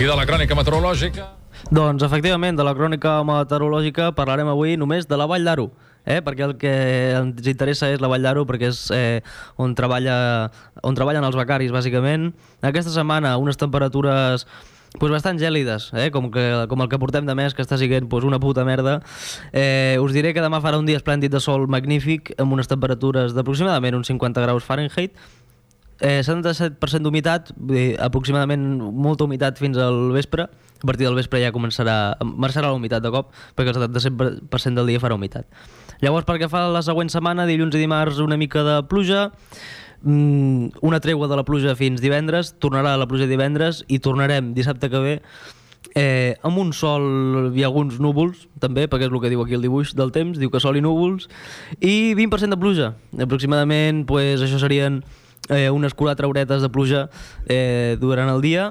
I de la crònica meteorològica... Doncs, efectivament, de la crònica meteorològica parlarem avui només de la Vall d'Aro, eh? perquè el que ens interessa és la Vall d'Aro, perquè és eh, on, treballa, on treballen els becaris, bàsicament. Aquesta setmana, unes temperatures pues, bastant gèlides, eh? com, que, com el que portem de mes, que està siguent pues, una puta merda. Eh, us diré que demà farà un dia esplèndid de sol magnífic, amb unes temperatures d'aproximadament uns 50 graus Fahrenheit, eh, 77% d'humitat, vull dir, aproximadament molta humitat fins al vespre, a partir del vespre ja començarà, marxarà la humitat de cop, perquè el 77% del dia farà humitat. Llavors, pel que fa a la següent setmana, dilluns i dimarts una mica de pluja, mm, una tregua de la pluja fins divendres, tornarà la pluja divendres i tornarem dissabte que ve eh, amb un sol i alguns núvols, també, perquè és el que diu aquí el dibuix del temps, diu que sol i núvols, i 20% de pluja. Aproximadament, pues, això serien eh, unes 4 horetes de pluja eh, durant el dia,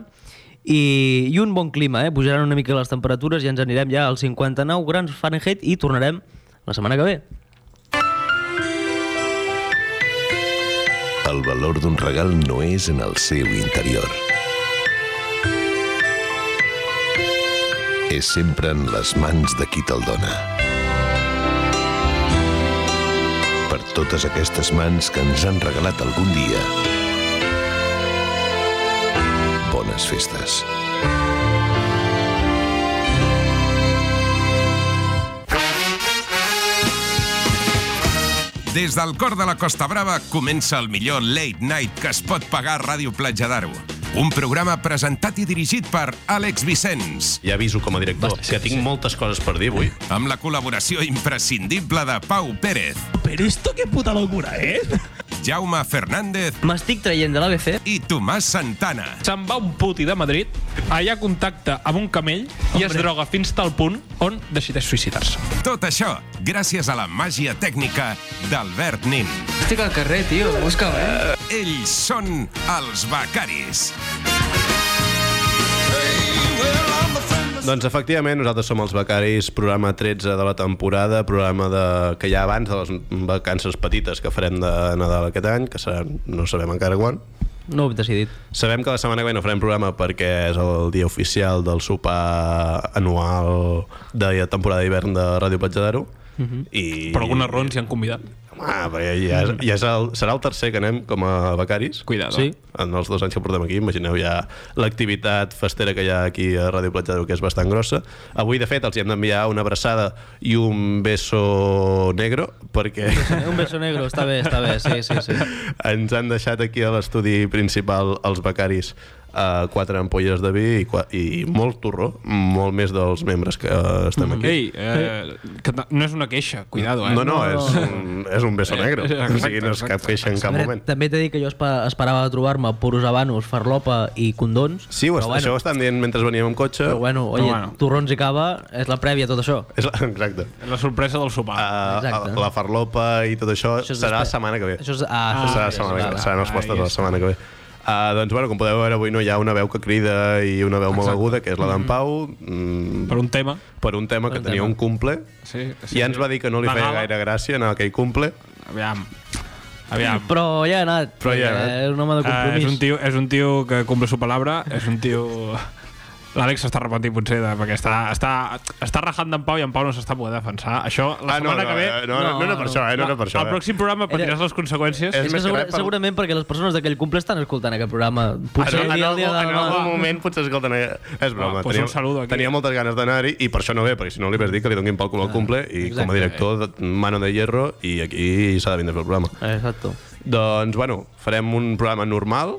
i, i un bon clima, eh? pujaran una mica les temperatures i ens anirem ja als 59 grans Fahrenheit i tornarem la setmana que ve. El valor d'un regal no és en el seu interior. És sempre en les mans de qui te'l dona. Per totes aquestes mans que ens han regalat algun dia, bones festes. Des del cor de la Costa Brava comença el millor late night que es pot pagar a Ràdio Platja d'Aro. Un programa presentat i dirigit per Àlex Vicenç, Ja aviso com a director que tinc moltes coses per dir avui. amb la col·laboració imprescindible de Pau Pérez, Pero esto qué puta tota, locura eh? es. Jaume Fernández M'estic traient de l'ABC. i Tomàs Santana. Se'n va un puti de Madrid, allà contacta amb un camell i es droga fins tal punt on decideix suïcidar-se. Tot això gràcies a la màgia tècnica d'Albert Nin. Estic al carrer, tio, busca'm, eh? Ells són els Becaris. Doncs efectivament, nosaltres som els Becaris, programa 13 de la temporada, programa de... que hi ha abans de les vacances petites que farem de Nadal aquest any, que serà, no sabem encara quan. No ho he decidit. Sabem que la setmana que ve no farem programa perquè és el dia oficial del sopar anual de la temporada d'hivern de Ràdio Platja d'Aro. Uh Mhm. -huh. I... Per algunes raons hi han convidat. Ah, perquè ja, és, ja és el, serà el tercer que anem com a becaris. Cuidado. Sí. en els dos anys que portem aquí, imagineu ja l'activitat festera que hi ha aquí a Ràdio Platja d'Aro, que és bastant grossa. Avui, de fet, els hi hem d'enviar una abraçada i un beso negro, perquè Un beso negro, està bé, està bé, sí, sí, sí. ens han deixat aquí a l'estudi principal els becaris a quatre ampolles de vi i, qua- i molt torró, molt més dels membres que estem aquí. Mm. Ei, eh, que ta- no és una queixa, cuidado, eh? No, no, és un, és un beso negro. Exacte, o sigui, no és cap queixa en cap Mira, moment. També t'he dit que jo espa- esperava trobar-me poros habanos, farlopa i condons. Sí, ho però est- bueno, això ho estan dient mentre veníem amb cotxe. Però bueno, oye, bueno. torrons i cava és la prèvia a tot això. És la, exacte. La sorpresa del sopar. a, Exacte. a Ah, la farlopa i tot això, Això això és serà després. la setmana que ve. Això és- ah, Això això serà la és- setmana que vale. ve. Seran els postes Ahí de la està. setmana que ve. Uh, doncs, bueno, com podeu veure, avui no hi ha una veu que crida i una veu molt aguda, que és la d'en Pau, mm, Mm-hmm. Per un tema. per un tema que un tenia tema. un cumple, Sí, i ja ens va dir que no li feia Anava- gaire gràcia anar a aquell cumple. Aviam. Aviam. Però ja he anat. Però ja he anat. Eh, És un home de Eh, és, compromís. un tio, és un tio que cumple su palabra, és un tio... L'Àlex s'està arrepentint potser de, perquè està, està, està rajant d'en Pau i en Pau no s'està podent defensar. Això, la Ah, no, setmana no, que ve... eh, no, no, no, era per no. això, eh, no era per això. Al eh. pròxim programa patiràs les conseqüències. És És que més que segura, res per- segurament perquè les persones d'aquell cumple estan escoltant aquest programa. En, Potser en, el dia, el algun, dia de en algun demà. moment potser es És broma, Ah, pues un saludo aquí. tenia moltes ganes d'anar-hi i per això no ve, perquè si no li vas dir que li donguin pel Ah, cul al cumple i com a director, de- mano de hierro i aquí s'ha de vindre a fer el programa. Exacto. Doncs, bueno, farem un programa normal,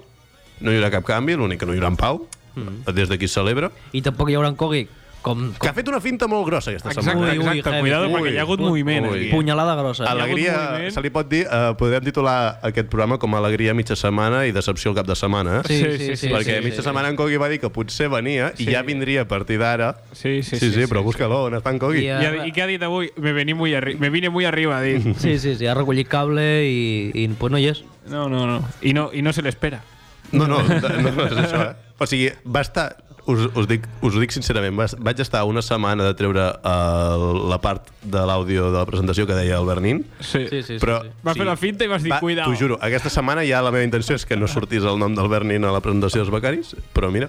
no hi haurà cap canvi, l'únic que no hi haurà en Pau, mm. des d'aquí es celebra, I tampoc hi haurà en Cogui com, que com ha fet una finta molt grossa aquesta Exacte, setmana. Ui, ui, exacte. heavy. Cuidado, Ui, perquè hi ha hagut moviment. eh, ui. aquí. punyalada grossa. la- Alegria, hagut moviment. se li pot dir, eh, podem titular aquest programa com Alegria mitja setmana i Decepció al cap de setmana, eh? Sí, sí, sí. sí, sí, Perquè sí, sí. mitja setmana en Cogui va dir que potser venia i ja vindria a partir d'ara. Sí, sí, sí, sí, sí, però sí. busca-lo, on està en Cogui? I, eh, I, ha- I què ha dit avui? Me, vení muy arri me vine muy arriba, ha dit. Sí, sí, sí, ha recollit cable i, i pues no hi és. No, eh? no, no. I no, i no se l'espera. No, no, no, no és això, eh? O sigui, va estar us, us, dic, us ho dic sincerament, vas- vaig estar una setmana de treure uh, la part de l'àudio de la presentació que deia el Bernin, Sí. sí, sí. sí, però... sí. Va fer la finta i vas dir, Va, cuidao. T'ho juro, aquesta setmana ja la meva intenció és que no sortís el nom del Bernin a la presentació dels becaris, però mira,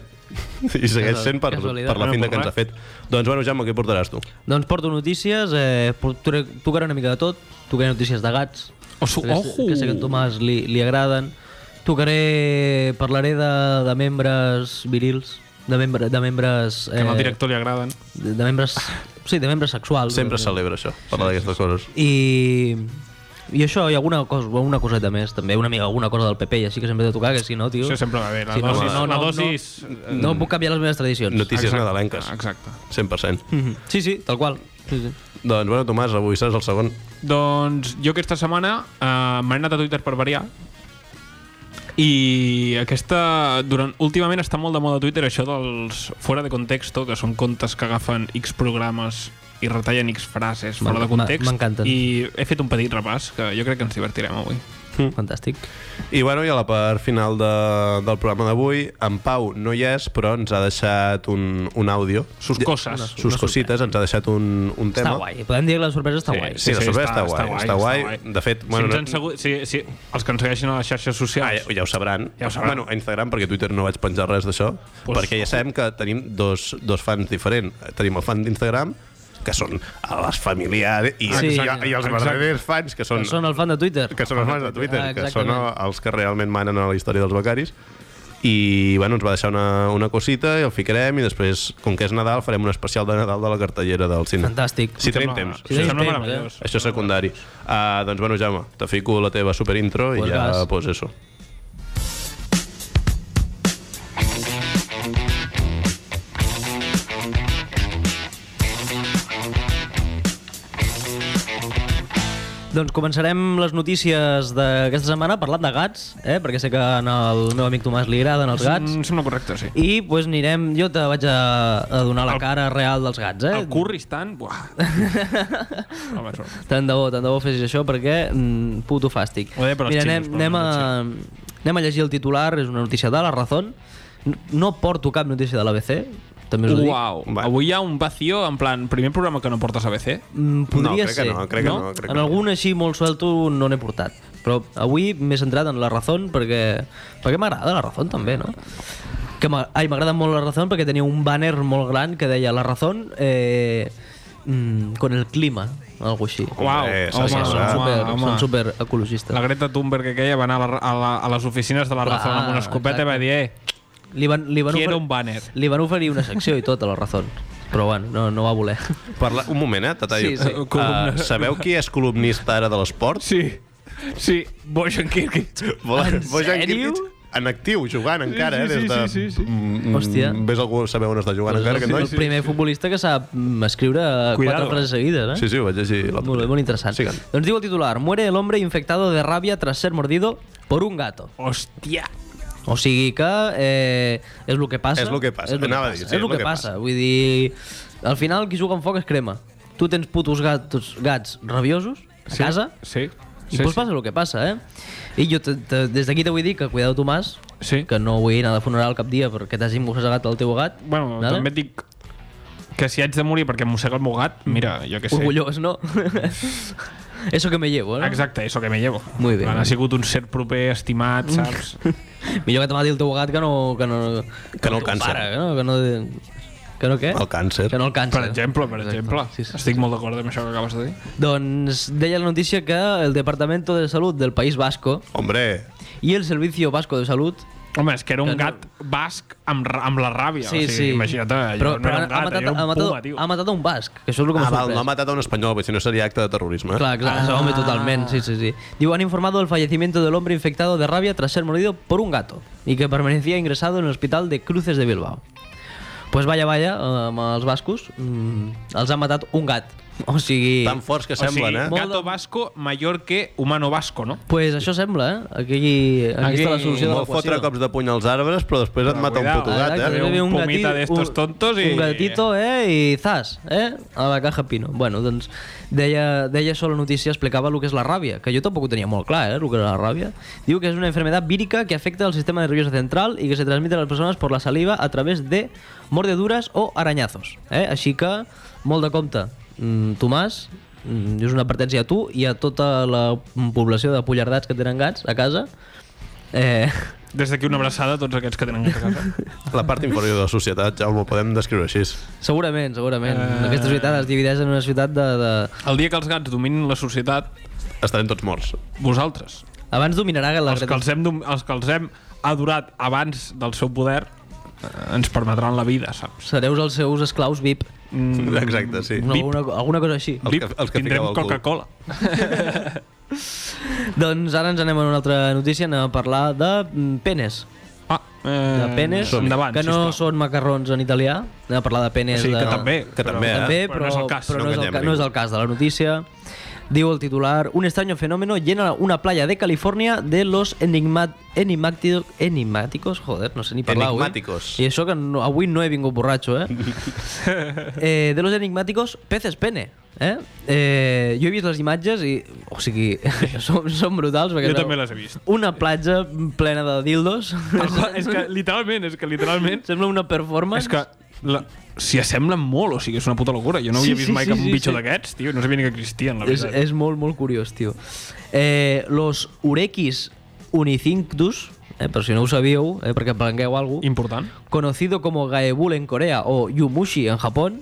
i segueix sent per, Casualitat. per la Bueno, finta pues que ens ha res. fet. Doncs bueno, Jaume, què portaràs tu? Doncs porto notícies, eh, portaré- tocaré una mica de tot, tocaré notícies de gats, Oso, que, ojo! que sé que a en Tomàs li, li agraden, tocaré, parlaré de, de membres virils, de, membre, de membres... eh, Que al director li agraden. de, de membres... Sí, de membres sexuals. Eh, Sempre es celebra això, parlar d'aquestes coses. I, i això, i alguna, cosa, alguna coseta més, també, una mica, alguna cosa del PP, ja sí que sempre he de tocar, que si no, tio... Això sempre va bé, la si no, dosis- no, la no, dosis, eh, No, no, puc canviar les meves tradicions. Notícies Exacte. nadalenques, Exacte. 100%. Mhm. Sí, sí, tal qual. Sí, sí. Doncs bueno, Tomàs, avui seràs el segon. Doncs jo aquesta setmana eh, m'he anat a Twitter per variar i aquesta, durant, últimament està molt de moda a Twitter això dels fora de contexto, que són contes que agafen X programes i retallen X frases fora M'en- de context. m'encanten. I he fet un petit repàs, que jo crec que ens divertirem avui. Mm. Fantàstic. I bueno, i a la part final de, del programa d'avui, en Pau no hi és, però ens ha deixat un, un àudio. Sus coses. Sus cosites, ens ha deixat un, un Està tema. guai. Podem dir que la sorpresa està guai. Sí, la sorpresa està guai, està guai. De fet, bueno, si no- ens han segut, si, si, els que ens segueixen a les xarxes Ah, socials... ja, ja ho sabran. Ja ho sabran. Bueno, a Instagram, perquè a Twitter no vaig penjar res d'això, Pues- pues... perquè ja sabem que tenim dos, dos fans diferents. Tenim el fan d'Instagram, que són les familiars, i, Sí. sí, i, i els Exacte. verdaders fans, que són, Són el fan de Twitter. que són els fans de Twitter, Ah, que exactament. són els que realment manen a la història dels becaris. I bueno, ens va deixar una, una cosita i el ficarem i després, com que és Nadal, farem un especial de Nadal de la cartellera del cine. Fantàstic. Si tenim Sembla- temps. Si tenim temps, Sembla eh? meravellós. Això és secundari. Uh, doncs bueno, Jaume, te fico la teva superintro Pues i ja, gas. pues eso. Mm-hmm. Doncs començarem les notícies d'aquesta setmana parlant de gats, eh? perquè sé que al meu amic Tomàs li agraden els gats. Mm, Em sembla correcte, sí. I pues, anirem... Jo te vaig a, a donar la El- cara real dels gats. Eh? El Kurdistan, buah. no, va, sort. Tant de bo, tant de bo fessis això perquè mm, puto fàstic. Ho deia per als Mira, anem, xinos, però anem, no a, anem a llegir el titular, és una notícia de La Razón. No, no porto cap notícia de l'ABC, també us ho dic. Uau, Va. avui hi ha un vacío en plan, primer programa que no portes ABC. Mm, podria no, crec ser. que no, crec No? que no. Crec que en no. algun així molt suelto no n'he portat. Però avui m'he centrat en la Razón perquè, perquè m'agrada la Razón també, no? Que m'a- ai, m'agrada molt la Razón perquè tenia un banner molt gran que deia la Razón eh, mm, con el clima, o alguna així. Uau, Eh, home, sí, són, sí, home, super, home. són super ecologistes. La Greta Thunberg aquella va anar a, la, a, la, a les oficines de la Clar, Razón amb una escopeta i va dir, eh, Li van, li van quiero oferir, un banner. Li van oferir una secció i tot a la Razón. Però bueno, no, no va voler. Parla... Un moment, eh, Tatallo. Sí, sí. Uh, sabeu qui és columnista ara de l'esport? Sí, sí, Bojan Kirkic. Bojan- En Bojan sèrio? Kirkic, En actiu, jugant encara, sí, eh? Des de... sí, sí, sí. Mm, Hòstia. Ves algú saber on està jugant encara, el, aquest noi? el primer futbolista que sap mm, escriure Cuidado. quatre frases seguides, eh? Sí, sí, ho vaig llegir. l'altre Molt bé, dia. molt interessant. Sigan. Doncs diu el titular, muere el hombre infectado de rabia tras ser mordido por un gato. Hòstia. O sigui que eh, és el que passa. És lo que passa, És el que anava a passa. dir, sí, és el que, passa. Vull dir, al final qui juga amb foc es crema. Tu tens putos gatos, gats rabiosos a casa Sí. i doncs passa el que passa, eh? I jo te, te, des d'aquí te vull dir que cuideu, Tomàs, Sí. que no vull anar de funeral cap dia perquè t'hagin mossegat el teu gat. Bueno, Vale? també et dic que si haig de morir perquè em mossega el meu gat, mira, jo què sé. Orgullós, no? Eso que me llevo, no? Exacte, eso que me llevo. Muy bien. Mm. Plan, Ha sigut un cert proper estimat, saps? Millor que te mati Ah, el teu gat que no... Que no, Que no el teu càncer. Pare, que no, que no, que no què? El càncer. Que no el càncer. per exemple, per Exacte. exemple. Sí, sí. Estic molt d'acord amb això que acabes de dir. Doncs deia la notícia que el Departamento de Salud del País Vasco Hombre, i el Servicio Vasco de Salud Home, és que era un Que no- gat basc amb, ra- amb la ràbia. Sí, o sí. sigui, Imagina't, allò però, no però era un ha, gat, matat, era un ha, matat, puma, tio. ha matat un basc, que això és el que m'ha ah, val, sorprès. no ha matat a un espanyol, perquè si no seria acte de terrorisme. eh? Claro, claro, eso, hombre, totalmente, sí, sí, sí. Digo, han informado del fallecimiento del hombre infectado de rabia tras ser mordido por un gato y que permanecía ingresado en el hospital de Cruces de Bilbao. Pues vaya, vaya, eh, amb els bascos, mm, els ha matat un gat. O sigui... Tan forts que O sigui, semblen, eh? molt gato de- vasco mayor que humano vasco, no? pues això sembla, eh? Aquí, aquí, Aquí- aquí està la solució de Vol fotre l'equació. cops de puny als arbres, però després et mata un cuidao. puto gat, Exacte, eh? Ve ve un pomita gati- d'estos un- tontos i- Un gatito, eh, i zas, eh, a la caja pino. Bueno, doncs, deia, deia això la notícia, explicava el que és la ràbia, que jo tampoc ho tenia molt clar, eh, el que era la ràbia. Diu que és una enfermedad vírica que afecta al sistema nervioso central i que se transmite a les persones per la saliva a través de mordeduras o arañazos. Eh? Així que, molt de compte, mm, Tomàs, mm, és una advertència a tu i a tota la població de pollardats que tenen gats a casa. Eh, Des d'aquí una abraçada a tots aquests que tenen a casa. La part inferior de la societat, ja ho podem descriure així. Segurament, segurament. Eh. Uh... Aquesta ciutat es divideix en una ciutat de... de... El dia que els gats dominin la societat, Estarem tots morts. vosaltres, Abans dominarà la els que els hem, dom- els que els hem adorat abans del seu poder, eh, ens permetran la vida, saps? Mm. Sereus els seus esclaus VIP. Mm. Exacte, sí. No, VIP. alguna, alguna cosa així. Els que- els que fiqueu tindrem al cul. Coca-Cola. Doncs ara ens anem a una altra notícia, anem a parlar de mm, penes. Ah, eh, De penes, endavant, que no sisplau. són macarrons en italià. Anem a parlar de penes... Sí, de... que també. Que també, eh? També, però no és el cas. Però No no, és el, enganyem ca- no és el cas de la notícia. Diu el titular, un extraño fenómeno llena una playa de California de los enigma- enigmático- enigmáticos, joder, no sé ni parlar avui. Enigmáticos. I això que no, avui no he vingut borratxo, eh? eh de los enigmáticos peces pene. Eh? Eh, jo he vist les imatges i... O sigui, són, són brutals. perquè Jo era també les he vist. Una platja plena de dildos. Tal qual, és que literalment, és que literalment... Sembla una performance. és que la, s'hi assemblen molt, o sigui, és una puta locura. Jo no Sí, havia vist sí, mai sí, cap sí, un bitxo sí. d'aquests, tio, no sabia ni que existien, la Es, veritat. es molt, molt curiós, tio. Eh, los urequis unicinctus, eh, per si no ho sabíeu, eh, perquè aprengueu alguna cosa, Important. conocido como gaebul en Corea o yumushi en Japón,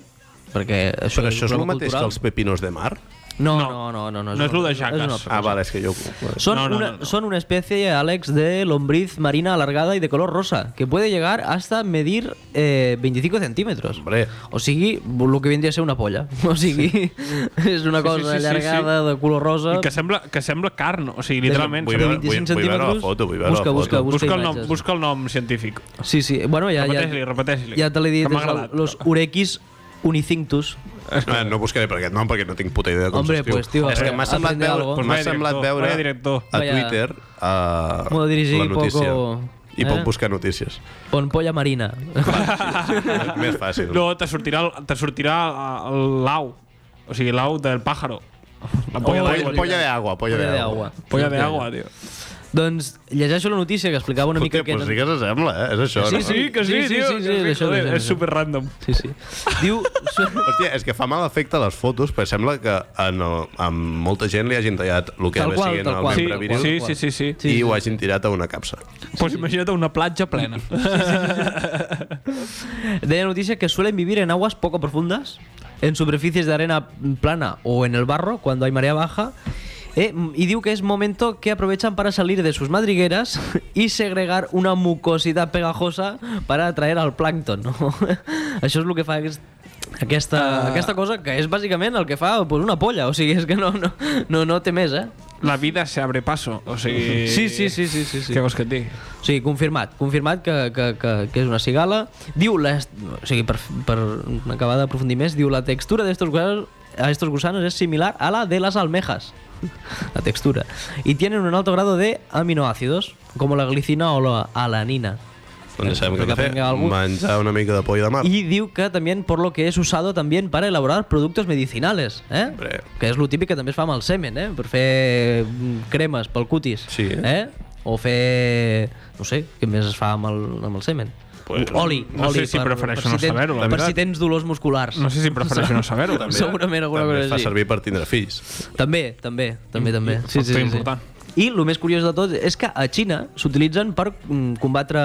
perquè Eh, això, Però això és un el problema mateix que cultural. els pepinos de mar? No, No. no, no. No, no, No és lo de una- jaques. una Ah, cosa. vale, és que jo... vale. Son, No, no, una, no, no. son una especie, Alex, de lombriz marina alargada y de color rosa, que puede llegar hasta medir eh, 25 centímetros. Hombre. O sigui, lo que vindria a ser una polla. O sigui, és una Sí, sí, cosa sí, sí, sí. allargada, de color rosa... I que sembla, que sembla carn, o sigui, literalment. Vull sembla- veure- vull- vull veure la foto, vull veure la busca, foto. busca, busca, Busca el, nom, imatges. busca el nom científic. Sí, sí. Bueno, ja, ja, Repeteix-li, repeteix-li. ja te l'he dit. Que m'ha és el- agradat. Los urequis unicinctus. Ah, no buscaré per aquest nom perquè no tinc puta idea de com Hombre, s'escriu. pues, tio, és que m'ha semblat, aprende veure, algo. pues Pues m'ha vaya semblat director, veure vaya director. a Vaya- Twitter uh, Modo dirigir la notícia. poco, I eh? puc buscar notícies. Pon polla marina. Més fàcil. No, te sortirà, el- te sortirà el- el- l'au. O sigui, l'au del pájaro. Oh, La polla oh, Polla, d'aigua. polla de agua, polla, Polla de de agua. agua. Polla d'aigua, tio. Doncs llegeixo la notícia que explicava una mica... Hòstia, que pues sí que s'assembla, eh? És això, Sí, no? Sí, que sí, Sí, sí, tio. sí, que sí, això, joder, això, és això. super random. Sí, sí. Diu... Hòstia, és que fa mal efecte les fotos, perquè sembla que en el, a molta gent li hagin tallat el que Tal ve qual, siguent tal el qual. Sí, membre Qual, viril sí, qual. sí, sí, sí. i ho hagin tirat a una capsa. Pues imagina't una platja plena. Deia la noticia que suelen vivir en aguas poco profundas, en superficies de arena plana o en el barro cuando hay marea baja. eh, y digo que es momento que aprovechan para salir de sus madrigueras y segregar una mucosidad pegajosa para atraer al plancton. No? Això és el que fa aquest, aquesta, Ah. aquesta cosa, que és bàsicament el que fa pues, una polla, o sigui, és que no, no, no, no té més, eh? La vida se abre paso, o sigui... Sí, sí, sí, sí, sí, sí. Què vols que et digui? O sigui, confirmat, confirmat que, que, que, que és una cigala. Diu, les, o sigui, per, per acabar d'aprofundir més, diu la textura d'estos gusanos, a estos gusanos es similar a la de las almejas. la textura. Y tienen un alto grado de aminoácidos, como la glicina o la alanina. Doncs sabem què Que hem de fer, vingui algú. menjar una mica de polla de mar. Y diu que también por lo que es usado también para elaborar productos medicinales, eh? Hombre. Que és lo típic que també es fa amb el semen, eh? Per fer mm, cremes pel cutis, Sí. eh? O fer... no sé, què més es fa amb el, amb el semen? Pues, oli, no oli sé si prefereixo no tens- saber-ho, la Per si veritat. tens dolors musculars. No sé si prefereixo no saber-ho. també. eh? Segurament alguna també es cosa fa així. servir per tindre fills. També, també, també, també. Sí, sí, Mm, factor sí, important. sí. I el més curiós de tot és que a Xina s'utilitzen per mm, combatre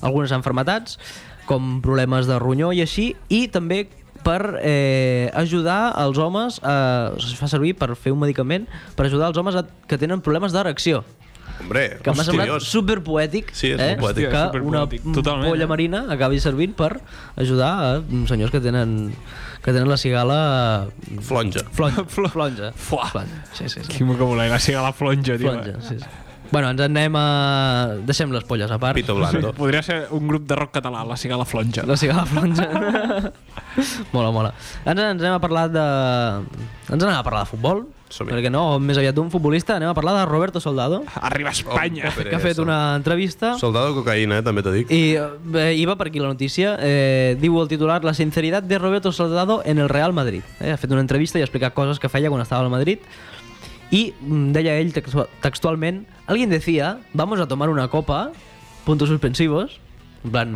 algunes enfermetats, com problemes de ronyó i així, i també per eh, ajudar els homes, a, es fa servir per fer un medicament, per ajudar els homes a, que tenen problemes d'erecció. Hombre, Que m'ha semblat hostiós. superpoètic Sí, és eh? molt que poètic. Hòstia, superpoètic, una totalment, polla eh? marina acabi servint per ajudar a mm, senyors que tenen, que tenen la cigala Flonja. flonja. flonja. Fuà. flonja. Sí, sí, sí. Quimo que voleu, va ser a la flonja, tio. Flonja, sí, sí. Bueno, ens en anem a... Deixem les polles a part. Pito blando. Podria ser un grup de rock català, la cigala flonja. La cigala flonja. mola, mola. Ens, ens anem a parlar de... Ens anem a parlar de futbol. Som-hi. Perquè no, més aviat d'un futbolista. Anem a parlar de Roberto Soldado, Arriba a Espanya. Oh, que ha fet una entrevista. Soldado cocaïna, eh, també t'ho dic. Y eh, iba per aquí la notícia. Eh, diu el titular La sinceridad de Roberto Soldado en el Real Madrid. Eh, ha fet una entrevista i ha explicat coses que feia quan estava al Madrid. I mm, deia ell textua- textualment Alguien decía, vamos a tomar una copa, puntos suspensivos. En plan,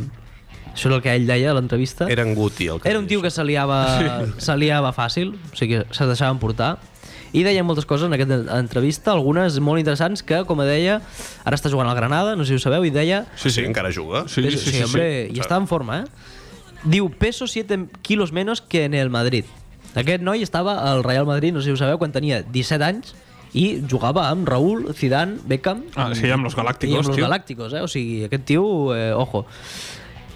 això és el que ell deia a l'entrevista. Era en Guti, el que Era un tio que se liava, se liava fàcil, o sigui, se deixaven portar. I deia moltes coses en aquesta entrevista, algunes molt interessants que, com deia, ara està jugant al Granada, no sé si ho sabeu, i deia Sí, sí, encara juga. Sí, Peso- sí, sí, sí, sí. hombre, y está en forma, ¿eh? Diu, peso 7 quilos menos que en el Madrid. Aquest noi estava al Real Madrid, no sé si ho sabeu, quan tenia 17 anys i jugava amb Raúl, Zidane, Beckham... Ah, sí, amb los Galácticos, I amb los tio. Galácticos, eh? O sigui, aquest tio, eh, ojo.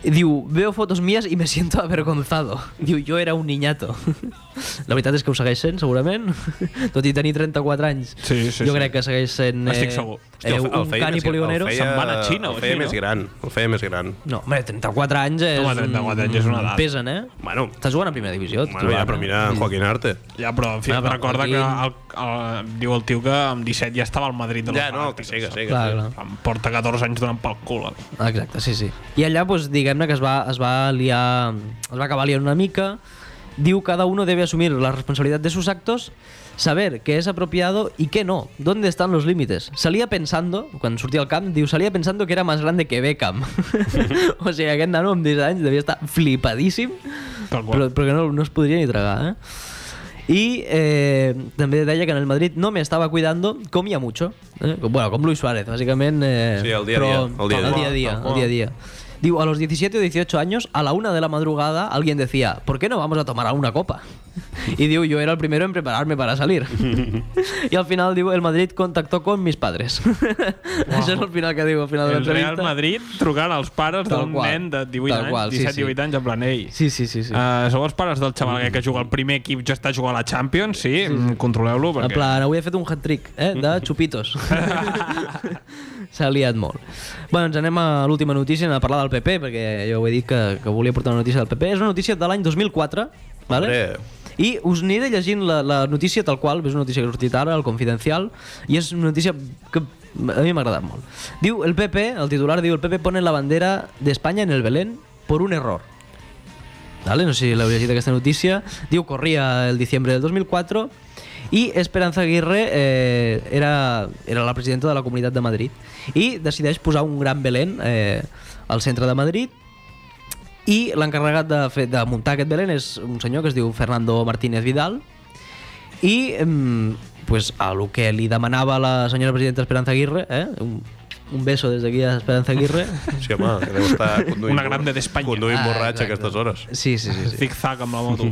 Diu, veo fotos mías y me siento avergonzado. Diu, jo era un niñato. La veritat és que ho segueix sent, segurament. Tot i tenir 34 anys, Sí, sí, jo sí. crec que segueix sent eh, Estic segur. eh, Hòstia, el fe- el un feia cani més- el polionero. feia- Se'n va anar a Xina o El feia així, més no? gran, el feia més gran. No, home, 34 anys és... Home, un- 34 anys és una edat. Pesen, eh? Bueno. Estàs jugant a primera divisió. Bueno, ja, però mira, en Joaquín Arte. Ja, però, en fi, Ah, però recorda aquí- que el, el, diu el tio que amb 17 ja estava al Madrid de los Ja, no, Galácticos, que sí, que sí. Que Clar, sí. clar. Em porta 14 anys donant pel cul. eh? Ah, Exacte, sí, sí. I allà, doncs, diguem-ne que es va, es va liar... Es va acabar liant una mica. Diu, cada uno debe asumir la responsabilidad de sus actos, saber qué es apropiado y qué no. ¿Dónde están los límites? Salía pensando, quan sortia al camp, diu, salía pensando que era más grande que Beckham. o sigui, aquest nano amb 10 anys devia estar flipadíssim, Tal qual. però, però que no, no es podria ni tragar, eh? Y eh, también detalle que en el Madrid no me estaba cuidando, comía mucho. eh, Bueno, con Luis Suárez, básicamente. eh, Sí, al día a pero- día, al día a al día a día. día, Tal al día a día. Digo, a los 17 o 18 años, a la una de la madrugada, alguien decía, ¿por qué no vamos a tomar a una copa? Y digo, yo era el primero en prepararme para salir. y al final, digo, el Madrid contactó con mis padres. Eso es el final que digo, al final de la El Real entrevista. Madrid trucant als pares Tal d'un qual. nen de 18 Tal anys, qual, sí, 17-18 sí. anys, en plan, ei, Sí, sí, sí. sí. Uh, sou els pares del xaval aquest que juga al primer equip, ja està jugant a la Champions, sí, mm, controleu-lo, En perquè... plan, avui he fet un hat-trick eh, de xupitos. S'ha liat molt. Bueno, ens anem a l'última notícia, anem a parlar del PP, perquè jo ho he dit que, que volia portar una notícia del PP. És una notícia de l'any 2004, vale? Hombre. i us aniré llegint la, la notícia tal qual, és una notícia que ha sortit ara, el Confidencial, i és una notícia que a mi m'ha agradat molt. Diu, el PP, el titular diu, el PP pone la bandera d'Espanya en el Belén por un error. ¿vale? No sé si la habéis leído esta noticia. Digo, corría el diciembre del 2004 y Esperanza Aguirre eh, era, era la presidenta de la Comunitat de Madrid i decideix posar un gran Belén eh, al centre de Madrid i l'encarregat de, fer, de muntar aquest Belén és un senyor que es diu Fernando Martínez Vidal i mm, pues, a lo que li demanava la senyora presidenta Esperanza Aguirre eh, un, un beso des d'aquí a Esperanza Aguirre Sí, home, que deu estar conduint... Una grande d'Espanya. Conduint Ah, borratxa a exacte. aquestes hores. sí, sí, sí, sí. Zig-zag amb la moto.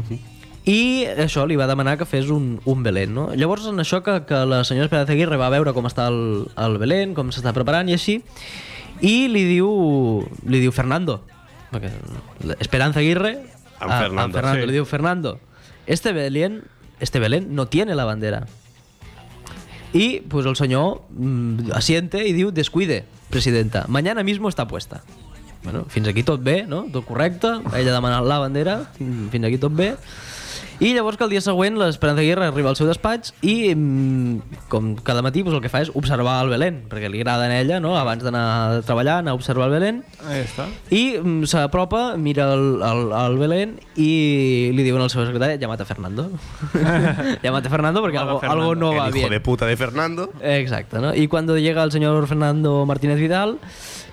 I això li va demanar que fes un, un Belén, no? Llavors, en això que, que la senyora Esperanza Aguirre va veure com està el, el Belén, com s'està preparant i així, i li diu, li diu Fernando, perquè Esperanza Aguirre... Amb a- Fernando, a Fernando sí. Li diu, Fernando, este Belén, este Belén no tiene la bandera. I pues, el senyor mm, asiente i diu, descuide, presidenta, mañana mismo està puesta. Bueno, fins aquí tot bé, no? Tot correcte. Ella demanant la bandera, mm, fins aquí tot bé. I llavors que el dia següent l'Esperanza Aguirre arriba al seu despatx i mm, com cada matí pues, el que fa és observar el Belén, perquè li agrada a ella, no? abans d'anar a treballar, anar a observar el Belén. Ahí està. I mm, s'apropa, mira el, el, el Belén i li diuen al seu secretari llamate Fernando. llamate Fernando perquè algo, algo no va El hijo bien. de puta de Fernando. Exacto, ¿no? Y cuando llega el señor Fernando Martínez Vidal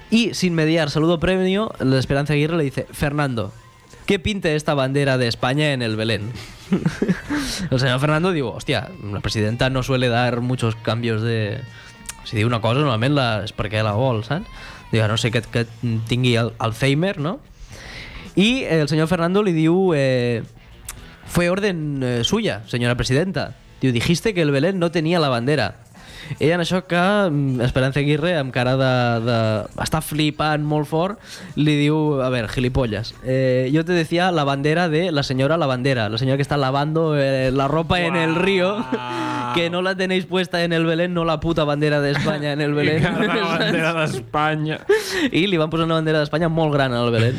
y sin mediar saludo premio, la Esperanza Aguirre le dice, Fernando, ¿qué pinte esta bandera de España en el Belén? el señor Fernando digo, hostia, la presidenta no suele dar muchos cambios de... Si diu una cosa, normalment la, és perquè la vol, saps? Diu, no sé, que, que tingui al- Alzheimer, no? I eh, el senyor Fernando li diu... Eh, fue orden eh, suya, señora presidenta. Diu, dijiste que el Belén no tenia la bandera. Ella en això que mm, Esperanza Aguirre, amb cara de, de... està flipant molt fort, li diu, a ver, gilipollas, eh, yo te decía la bandera de la senyora la bandera, la senyora que està lavando eh, la ropa en el río, Que no la tenéis puesta en el Belén, no la puta bandera de España en el Belén. la bandera d'Espanya. I li van posar una bandera d'Espanya molt gran al Belén.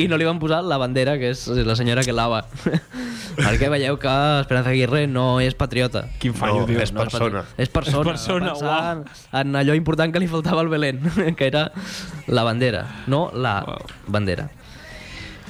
I no li van posar la bandera, que és la senyora que lava. Perquè veieu que Esperanza Aguirre no és patriota. Quin fallo, No, tio. és No és persona. patri- És persona. És persona, va pensar en, en allò important que li faltava al Belén, que era la bandera, no la bandera.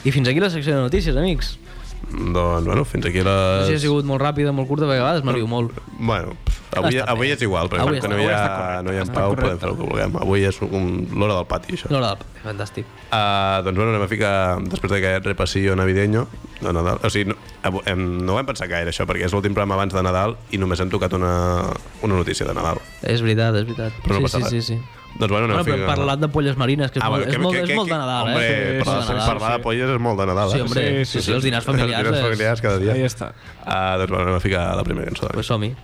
I fins aquí la secció de notícies, amics. Doncs, bueno, fins aquí No les... sé si ha sigut molt ràpida, molt curta, perquè a vegades m'arribo molt. Bueno, pff, avui, Està bé. avui és igual, perquè Avui avui que està- no hi, avui ha, no hi ha pau, podem fer el que vulguem. Avui és un- l'hora del pati, això. No, la... Fantàstic. Uh, doncs bueno, anem a ficar, després d'aquest repassillo navideño de Nadal, o sigui, no, avu- em, no ho hem pensat gaire això, perquè és l'últim programa abans de Nadal i només hem tocat una, una notícia de Nadal. És veritat, és veritat. Eh, Però no sí, passa sí, sí, res. sí. Doncs bueno, anem Bueno, però a ficar... hem parlat de polles marines, que és, Ah, molt, bueno, és, que- molt, que- és que- molt de Nadal, hombre, eh? parlar, és molt de Nadal. parlar de polles és molt de Nadal. Sí, eh? hombre, Sí, sí, sí, sí, sí, els dinars Els familiars. dinars és- familiars cada dia. Ahí està. Ah, doncs bueno, anem a ficar la primera cançó. doncs. Pues som-hi.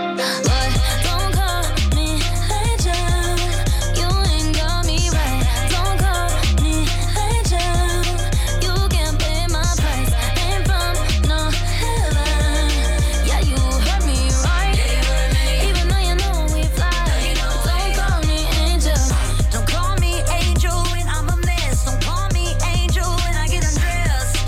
Don't call me angel. You ain't got me right. Don't call me angel. You can pay my price. Ain't from no heaven. Yeah, you heard me right. Even though you know we fly. Don't call me angel. Don't call me angel when I'm a mess. Don't call me angel when I get undressed.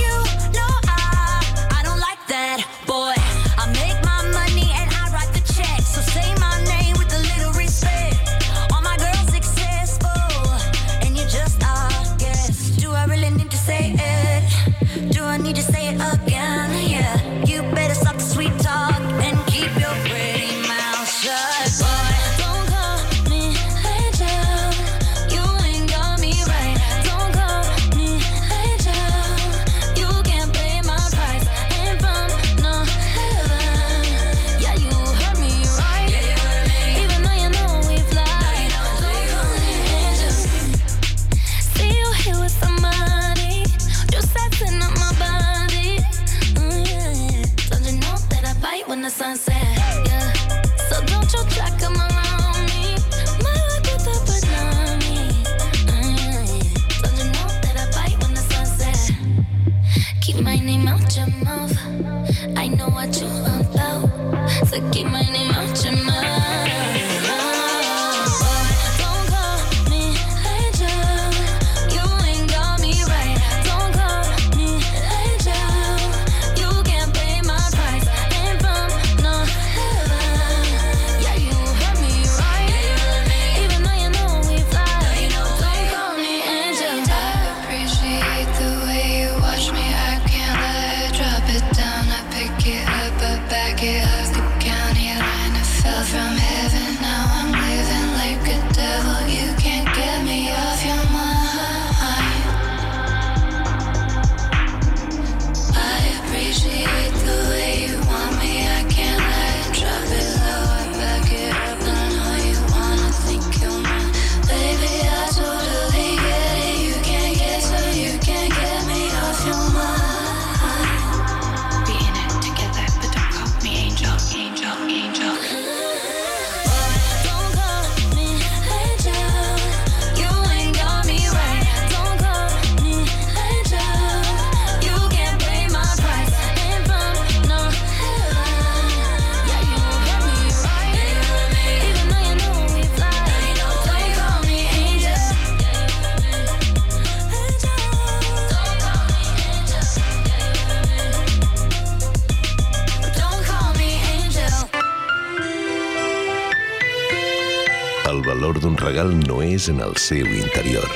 You know I, I don't like that boy. I make my money and I write the checks. So say my name with a little respect. All my girls successful, and you just a guest. Do I really need to say it? Do I need to say it again? Yeah. You better stop the sweet talk and keep your pretty mouth shut, boy. Don't call me angel. You ain't got me right. Don't call me angel. You can't pay my price. Ain't from no heaven. Yeah, you heard me right. Even though you know we fly. Don't call me angel. See you here with somebody. You sexing up my body. Mm, yeah, yeah. Don't you know that I bite when the sun sets? Yeah. So don't you try come around me. My luck with the banana. Mm, yeah, yeah. Don't you know that I bite when the sun sets? Keep my name out your mouth. I know what you about. So keep my name out your mouth. oh. Don't call me angel. You ain't got me right. Don't call me angel. You can't pay my price. Ain't from no heaven. Yeah, you heard me right. Even though you know we fly. Don't call me angel. appreciate the way you watch me. I can't let it drop it down. I pick it up, but back it up. The county line, I fell from heaven. Now I'm living like a devil. You can't get me off your mind. I appreciate the way you want me. I can't let it drop it low. I back it up. I know you wanna think you're mine. Baby, I totally get it. You can't get so you can't get me off your mind. Be in it together, but don't call me angel, angel, angel. Don't call me angel. You ain't got me right. Don't call me angel. You can't pay my price. Ain't from no heaven. Yeah, you got me right. Even though you know we fly. Don't call me angel. Angel. Don't call me angel. Don't call me angel. El valor d'un regal no és en el seu interior.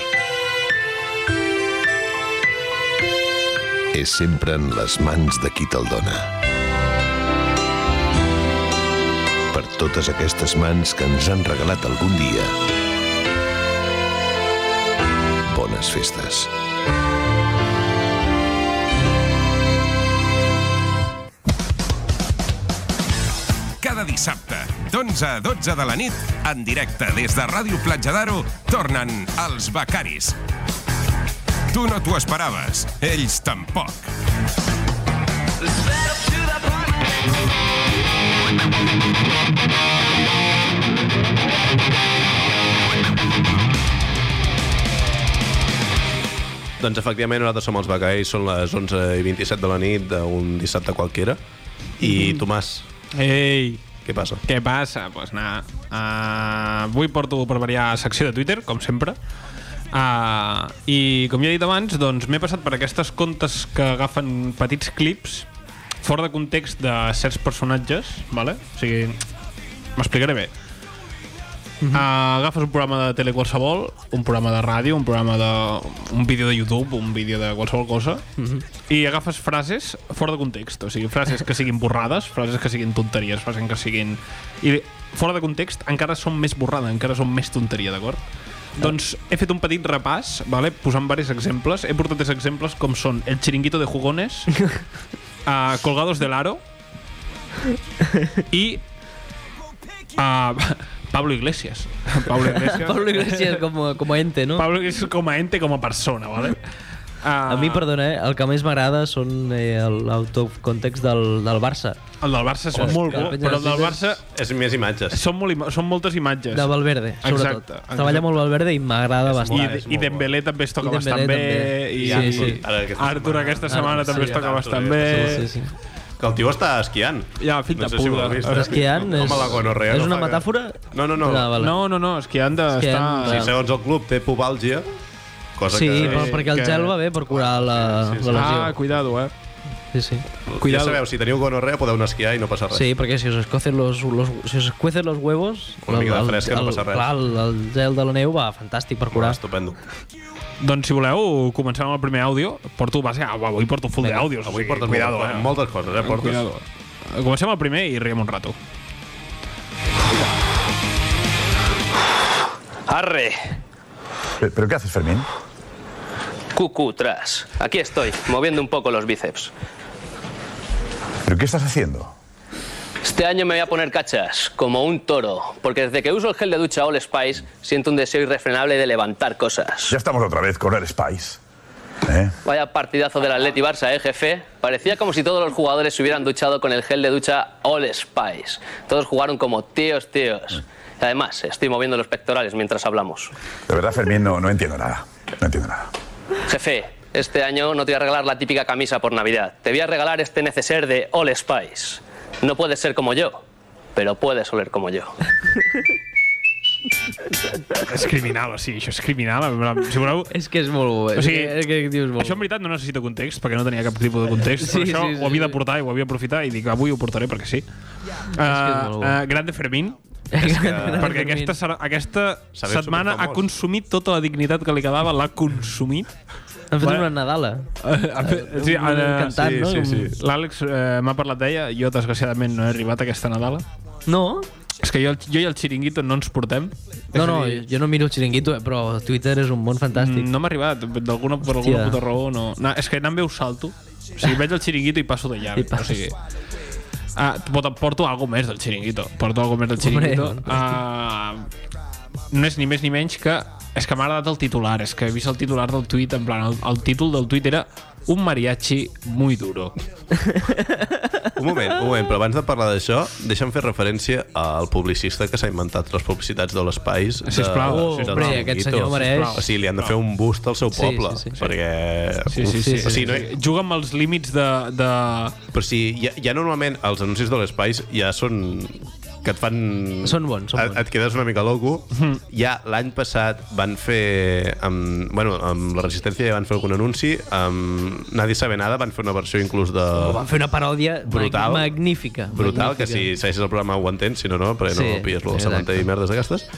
És sempre en les mans de qui te'l dona. Per totes aquestes mans que ens han regalat algun dia, bones festes. Cada dissabte, d'11 a 12 de la nit, en directe des de Ràdio Platja d'Aro, tornen els becaris. Tu no t'ho esperaves, ells tampoc. Doncs efectivament nosaltres som els becaris, són les 11 i 27 de la nit d'un dissabte qualquera. I Mm-hmm. Tomàs, Ei, què passa? què passa? Doncs pues anar... Uh, avui porto per variar secció de Twitter, com sempre. Uh, I com ja he dit abans, doncs m'he passat per aquestes contes que agafen petits clips fora de context de certs personatges, vale? o sigui, m'explicaré bé. Mhm. Uh, agafes un programa de tele qualsevol, un programa de ràdio, un programa de... un vídeo de YouTube, un vídeo de qualsevol cosa, i agafes frases fora de context, o sigui, frases que siguin borrades, frases que siguin tonteries, frases que siguin... I fora de context encara són més borrada, encara són més tonteria, d'acord? Doncs he fet un petit repàs, vale? posant diversos exemples. He portat tres exemples com són El chiringuito de jugones, uh, Colgados del aro i Ah, Pablo Iglesias. Pablo Iglesias. Pablo Iglesias como, como ente, no? Pablo Iglesias com a ente, com a persona, ¿vale? Ah, A mi, perdona, eh, el que més m'agrada són eh, el- l'autocontext del, del Barça. El del Barça és Ostres, molt bo, la penya però el de del Twitter Barça És més imatges. són, molt, ima- són moltes imatges. De Valverde, sobretot. Exacte, exacte. Treballa molt Valverde i m'agrada I, bastant. és i molt Dembélé també es toca I Dembélé bastant bé. també. I Sí, sí. Ara aquesta Artur setmana. aquesta Ara, setmana sí, també es toca Artur, bastant sí, bé. Sí, sí, sí. Que el tio està esquiant. Ja, fill de sé si ho puta. has vist. Però esquiant és- Home, la gonorrea és no una fa que- metàfora? No, no, no. Ah, vale. No, no, no, és que han de És que estar... han Sí, de- segons el club té pobàlgia, cosa Sí, que... però sí, perquè el que- gel va bé per curar la, la lesió. Ah, cuidado, eh. Sí, sí. Ja Cuidado. sabeu, si teniu gonorrea podeu anar a esquiar i no passa res. Sí, perquè si us escocen los, los, si us escuecen los huevos... Una mica de el- el- fresca, el- no passa res. Clar, el, el gel de la neu va fantàstic per Bueno, curar. estupendo. Doncs si voleu, comencem amb el primer àudio. Porto, va ser, avui porto full d'àudios. Avui o sigui, portes cuidado, molt, eh. moltes coses, eh? Portes. Cuidado. Comencem el primer i riem un rato. Arre, ¿Pero, qué haces, Fermín? cucu, tras. Aquí estoy, moviendo un poco los bíceps. ¿Pero qué estás haciendo? Este año me voy a poner cachas, como un toro, porque desde que uso el gel de ducha All Spice siento un deseo irrefrenable de levantar cosas. Ya estamos otra vez con el Spice. ¿Eh? Vaya partidazo del Atleti Barça, ¿eh, jefe? Parecía como si todos los jugadores se hubieran duchado con el gel de ducha All Spice. Todos jugaron como tíos, tíos. Y Además, estoy moviendo los pectorales mientras hablamos. Mm. De verdad, Fermín, no, no entiendo nada. No entiendo nada. Jefe, este año no te voy a regalar la típica camisa por Navidad. Te voy a regalar este neceser de All Spice. No puedes ser como yo, pero puedes oler como yo. És criminal, o sigui, això és criminal. en plan, Si voleu, És que és molt bo. O O sigui, sigui, és que, és que dius molt això en bo. veritat no necessita context, perquè no tenia cap tipus de context. Sí, Sí, això sí, sí, ho havia sí. de portar i ho havia d'aprofitar i dic, avui ho portaré perquè sí. Uh, molt uh, bo. grande Fermín, Gran perquè Fermín. aquesta, serà- aquesta Sabeu, setmana ha superfamós. consumit tota la dignitat que li quedava, l'ha consumit. Han fet Bueno. una Nadala. Uh, sí, Un ara, cantant, sí, no? sí, sí. L'Àlex uh, m'ha parlat d'ella, jo desgraciadament no he arribat aquesta Nadala. No? És que jo, jo i el Chiringuito no ens portem. No, no, jo no miro el xiringuito, eh, però Twitter és un món fantàstic. Mm, No m'ha arribat, d'alguna per alguna Hòstia. puta raó no. no és que anant bé ho salto. O sigui, veig el xiringuito i passo de llarg. I passes. O sigui, ah, porto, porto algo més del xiringuito. Porto algo més del xiringuito. Hombre. Ah, no és ni més ni menys que... És que m'ha agradat el titular. És que he vist el titular del tuit, en plan, el, el títol del tuit era un mariachi muy duro. Un moment, un moment, però abans de parlar d'això, deixa'm fer referència al publicista que s'ha inventat les publicitats de l'espai. Sisplau. de, Oh, del hombre, Chiringuito. aquest senyor mereix. O sigui, li han de fer un bust al seu Sí, poble, sí, sí. perquè... Sí, sí, sí. sí, O sí, sigui, no, sí. Juga amb els límits de... de... Però si ja, ja normalment els anuncis de l'espai ja són que et fan... Són bons, són Mhm. et- bons. Et quedes una mica loco. Ja l'any passat van fer... Amb, bueno, amb la Resistència ja van fer algun anunci. Amb Nadie sabe nada van fer una versió inclús de... Oh, Van fer una paròdia Brutal. brutal. magnífica. brutal, que magnífica. si segueixes el programa ho entens, si no, no, perquè Sí, no pilles lo del exacte. cementeri i merdes d'aquestes.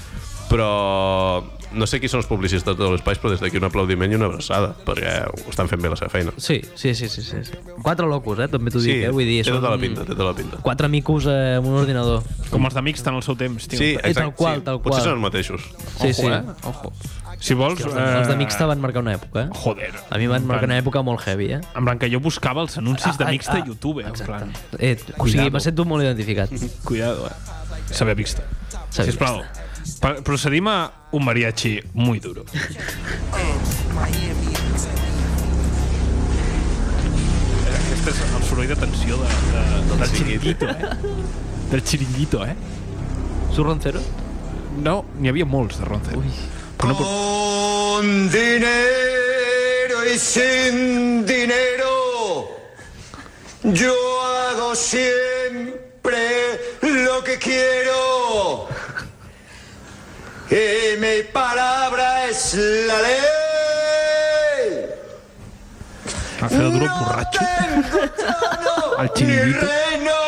Però no sé qui són els publicistes de l'espai, però des d'aquí un aplaudiment i una abraçada, perquè ho estan fent bé la seva feina. Sí, sí, sí, sí, sí. sí. Quatre locos, eh? També t'ho dic, eh? Vull dir, té tota la són pinta, té tota la pinta. Quatre micos eh, amb un ordinador. Com els d'amics tant al seu temps, tio. Sí, tal exacte, qual, sí. tal Potser qual. són els mateixos. Sí, sí. Ojo, eh? Ojo. Si vols... eh, Els, els de Mixta van marcar una època, eh? Joder. A mi em van marcar una època molt heavy, eh? En plan, que jo buscava els anuncis de Ah, ah, Mixta a ah, YouTube, en plan... Eh, o sigui, Cuidado. me sento molt identificat. Cuidado, eh? Saber Mixta. Saber Sisplau, pa- procedim a un mariachi muy duro. Aquest és el soroll de tensió de, de, del xiringuito, eh? Del xiringuito, eh? Su Roncero? Oh, No, n'hi havia molts de Roncero. Ui. Però no, pot- Con dinero y y sin dinero. Yo hago siempre lo que quiero. Y mi palabra es la ley. Alfredo Duro No borracho. tengo trono Al ni chiringuito. reino.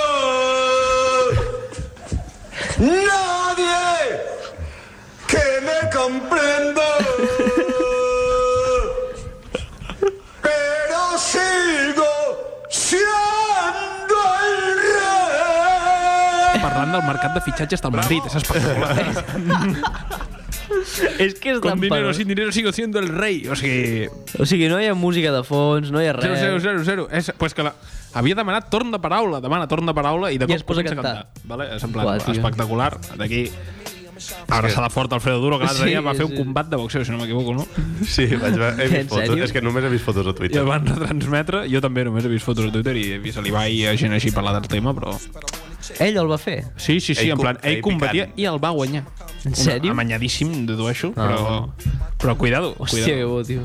Nadie que me comprenda. Pero sigo siendo el rey. Parlant del mercat de fitxatges del Madrid, és espectacular. és que és Con tan dinero parodi- sin dinero sigo siendo el rey. O sigui, O sigui, no hi ha música de fons, no hi ha res. 0, 0, 0, 0. És, pues que la, havia demanat torn de paraula, demana torn de paraula i de I cop es posa a comença cantar. Vale? És en plan, Uah, tio. espectacular. D'aquí abraçada fort Alfredo Duro, que l'altre Sí, sí, dia va fer un sí. combat de boxeo, si no m'equivoco, no? Sí, vaig, va- he vist fotos. És que només he vist fotos a I Twitter. el van retransmetre. Jo també només he vist fotos a Twitter i he vist a l'Ibai i a gent així parlar del tema, però... Ell el va fer? Sí, sí, sí, Ell en plan, com- ell ell combatia picant. i el va guanyar. En sèrio? Amanyadíssim, dedueixo, Ah. però... Però cuidado, Hòstia, que cuidado. bo, tio.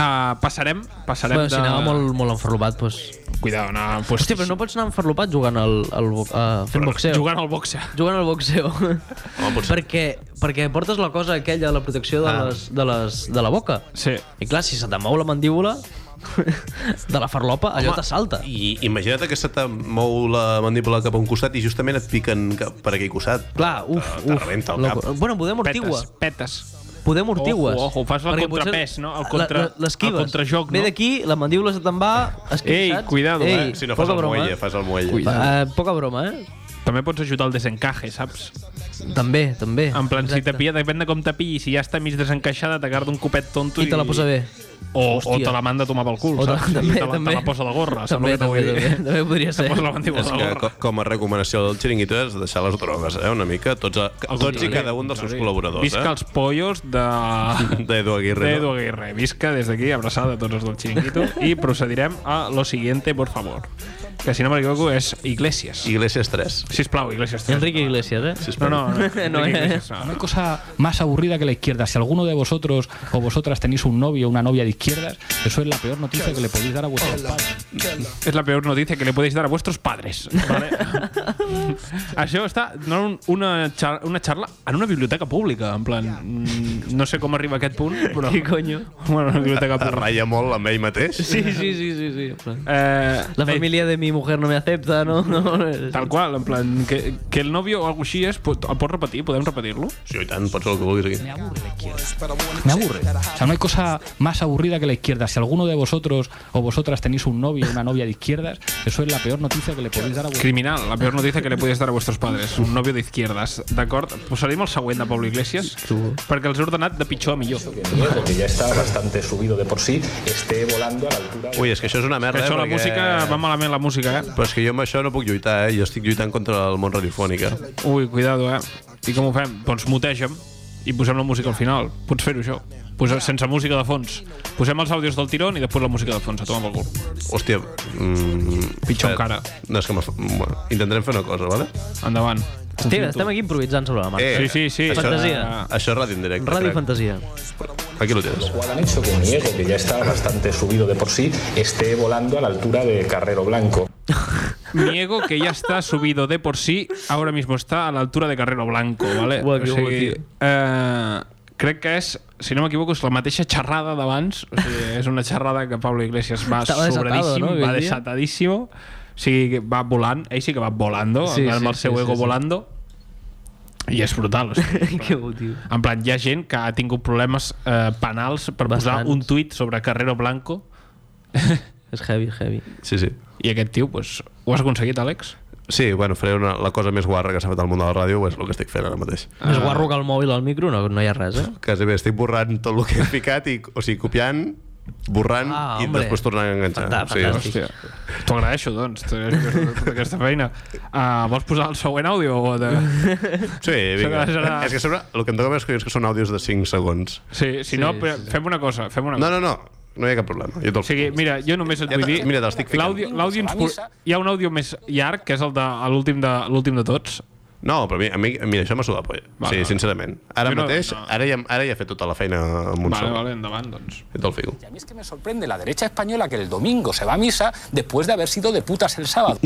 Uh, passarem, passarem Bueno, de... si anava molt, molt enfarlopat, doncs... Cuidado, anava... Pues, Hòstia, però no pots anar enfarlopat jugant al, al, bo- a, fent boxeo. Jugant al boxe. Jugant al boxeo. perquè, perquè portes la cosa aquella, la protecció de, Ah. les, de, les, de la boca. Sí. I clar, si se te mou la mandíbula de la farlopa, Ah, allò t'assalta. I imagina't que se te mou la mandíbula cap a un costat i justament et piquen cap per aquell costat. Clar, uf, te uf. rebenta el Loco. cap. Bueno, podem ortigua. Petes, petes. Podem ortigües. Ojo, ojo, fas el Perquè contrapès, potser no? El contra- la- la- l'esquives. el contrajoc, no? Ve d'aquí, la mandíbula se te'n va, esquivats. Ei, cuidado, Ei, eh? poca broma, eh? el muelle. Eh, poca broma, eh? També pots ajudar al desencaje, saps? També, també. En plan, si te pilla, depèn de com te pilli. Si ja està mig desencaixada, t'agarra d'un copet tonto I te la posa bé. O, o Hòstia. te la manda a tomar pel cul, O te- saps? I també, te, la, també. te la posa a la gorra, saps També, el que t'ho vull també, dir? també, també podria Te ser. posa la mandíbula És a la que, gorra. co- com a recomanació del xiringuito és deixar les drogues, eh, una mica, tots, a, tots i cada un dels seus col·laboradors. Visca eh? els pollos de... D'Edu Aguirre. D'Edu Aguirre. Visca des d'aquí, abraçada a tots els del xiringuito. I procedirem a lo siguiente, por favor. Que si no m'equivoco és Iglesias. Iglesias 3. Sisplau, Iglesias 3. Enrique Iglesias, ¿eh? No, no, no. No, Enrique eh? Iglesias, no. No hay cosa más aburrida que la izquierda. Si alguno de vosotros o vosotras tenéis un novio o una novia de izquierdas, eso es la peor noticia que le podéis dar a vuestros padres. Es la peor noticia que le podéis dar a vuestros padres. ¿vale? Això està donant un, una, xar una xarra en una biblioteca pública, en plan... mm, No sé com arriba a aquest punt, però... Què conyo? Bueno, una biblioteca Es pública. ratlla molt amb ell mateix. Sí, sí, sí, sí. sí. en plan. Eh, La familia de mi mujer no me acepta, ¿no? no Tal qual, en plan, que, que el novio o alguna així és, pot- el pots pues, repetir? Podem repetir-lo? Sí, i tant, pots el que vulguis aquí. Me aburre. O sea, no hay cosa más aburrida que la izquierda. Si alguno de vosotros o vosotras tenéis un novio o una novia de izquierdas, eso es la peor noticia que le podéis dar a vuestros Criminal, la peor notícia que le podías dar a vuestros padres. Un novio de izquierdas, d'acord? Posarem el següent de Pablo Iglesias, perquè els he ordenat de pitjor a millor. porque ya está bastante subido de por sí, esté volando a la altura. Ui, és que això és una merda, Això, eh, la perquè- música, va malament la música, eh? Però és que jo amb això no puc lluitar, eh? Jo estic lluitant contra el món radiofònic. eh? Ui, cuidado, eh? I com ho fem? Doncs muteja'm i posem la música al final. Pots fer-ho, això. Posem, sense música de fons. Posem els àudios del tirón i després la música de fons. A tomar pel cul. Hòstia, mm, Pitjor eh, encara. No, és que m'ha- bueno, intentarem fer una cosa, vale? Endavant. Hòstia, estem aquí improvisant sobre la marca. Eh, Això, Fantasia. Això és ràdio en directe. Radio crec. Fantasía. Aquí lo tienes. Han hecho que un Diego, que ya está bastante subido de por sí, esté volando a la altura de Carrero Blanco. Niego que ya está subido de por sí, ahora mismo está a la altura de Carrero Blanco, ¿vale? Guau, que o sigui, guai, eh, crec que és, si no m'equivoco, és la mateixa xerrada d'abans. O sigui, és una xerrada que Pablo Iglesias va Estava desatado, sobradíssim, no, aquell va dia? desatadíssim. O sigui, que va volant, ell sí que va volando, Sí, sí, amb sí, el seu sí, ego sí, sí. volando. I és brutal, o sigui, Qué útil. en plan, hi ha gent que ha tingut problemes eh, penals per Bastants. Bastants. posar un tuit sobre Carrero Blanco És heavy, heavy. Sí, sí. i aquest tio, pues, ho has aconseguit, Àlex? Sí, bueno, faré una, la cosa més guarra que s'ha fet al món de la ràdio, és el que estic fent ara mateix. Ah. Més guarro que el mòbil al micro, no, no hi ha res, eh? Quasi bé, estic borrant tot el que he ficat, i, o sigui, copiant, borrant Ah, i hombre. després tornant a enganxar. Fantà- fantàstic. hòstia. T'ho agraeixo, doncs, tota aquesta feina. Uh, vols posar el següent àudio o de... Sí, vinga. Això que serà- És que sobre, el que em toca més collons que són àudios de 5 segons. Sí, si sí, no, sí. fem una cosa, fem una No, cosa. no, no, no hi ha cap problema. Jo te'l O sigui, mira, jo només et Ja vull te- dir... mira, te'ls estic ficant. l'àudio- L'àudio ens... por- Hi ha un àudio més llarg, que és el de l'últim de, l'últim de tots, No, però a mi, a mi mira, això m'ha sudat polla. Vale, Vale, sí, vale. sincerament. Ara Jo no- mateix, no. ara ja, ara ja he fet tota la feina amb un Vale, sol. vale, endavant, doncs. Ets el figo. Y a mí es que me sorprende la derecha española que el domingo se va a misa después de haber sido de putas el sábado.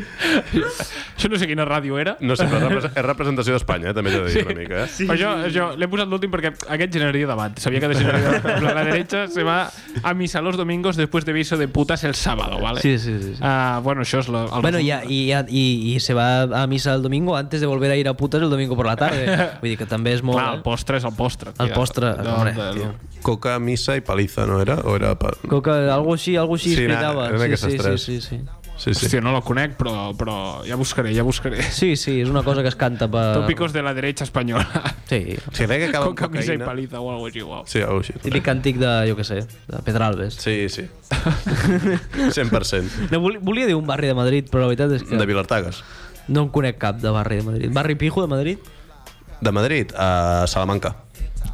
Això no sé quina ràdio era. No sé, però repre- és representació d'Espanya, eh, també t'he de dir sí. una mica. Eh? Sí. Però jo, jo l'he posat l'últim perquè aquest generaria debat. Sabia que de generaria debat. Però La derecha se va a misa los domingos después de viso de putas el sábado, ¿vale? Sí, sí, sí. sí. Ah, bueno, això és la, el Bueno, resum. y, y, y, y se va a misa el domingo antes de volver a ir a putas el domingo por la tarde. Vull dir que també és molt... Clar, el postre és el postre. El postre, No, hombre, no, no. tio. Coca, missa i paliza, no era? O era pa... Coca, algo així, algo així Sí, sí, era- explicava. eren Sí, aquestes sí, sí, tres. sí, sí. Sí, sí. Hòstia, no la conec, però, però ja buscaré, ja buscaré. Sí, sí, és una cosa que es canta per... Tópicos de la derecha española. Sí. Sí, crec que acaba Con amb camisa cocaïna. i paliza o algo així, guau. Sí, algo així. Típic càntic de, jo què sé, de Pedralbes. Sí, sí. 100%. No, vol- volia dir un barri de Madrid, però la veritat és que... De Vilartagues. No en conec cap de barri de Madrid. Barri Pijo de Madrid? De Madrid a Salamanca.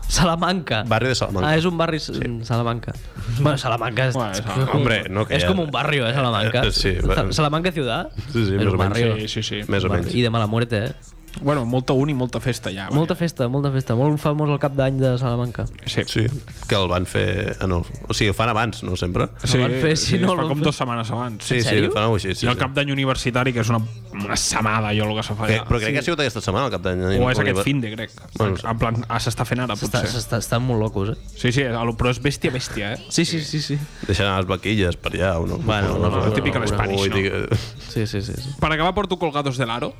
Salamanca. Barri de Salamanca. Ah, és un barri... Sí. Salamanca. Bueno, Salamanca és... Salamanca. Hombre, no, que és ja- com un barri, eh, Salamanca. Eh, sí, bueno. Sa- Salamanca ciutat? Sí, sí, És més un o menys. barri. Sí, sí, sí. Més o Barri. menys. I de mala muerte, eh? Bueno, molta uni, molta festa ja. Molta festa, molta festa. Molt famós el cap d'any de Salamanca. Sí. sí. Que el van fer... En el... O sigui, el fan abans, no sempre? Sí, van fer, sí, no, fa el van com fer. dues setmanes abans. Sí, En sí, sèrio? fan alguna cosa així, sí, I el sí. cap d'any universitari, que és una, una samada, jo, el que se fa Que, allà. però crec que ha sigut aquesta setmana el cap d'any. O és aquest Oliver. fin de, crec. Bueno, en plan, ah, s'està fent ara, S'està- potser. s'està- Estan molt locos, eh? Sí, sí, a lo- però és bèstia, bèstia, eh? Sí, sí, sí, sí. Deixant les vaquilles per allà, o no? Bueno, no, no, típic Spanish, no? Sí, sí, sí. sí. Per acabar porto Colgados de l'Aro,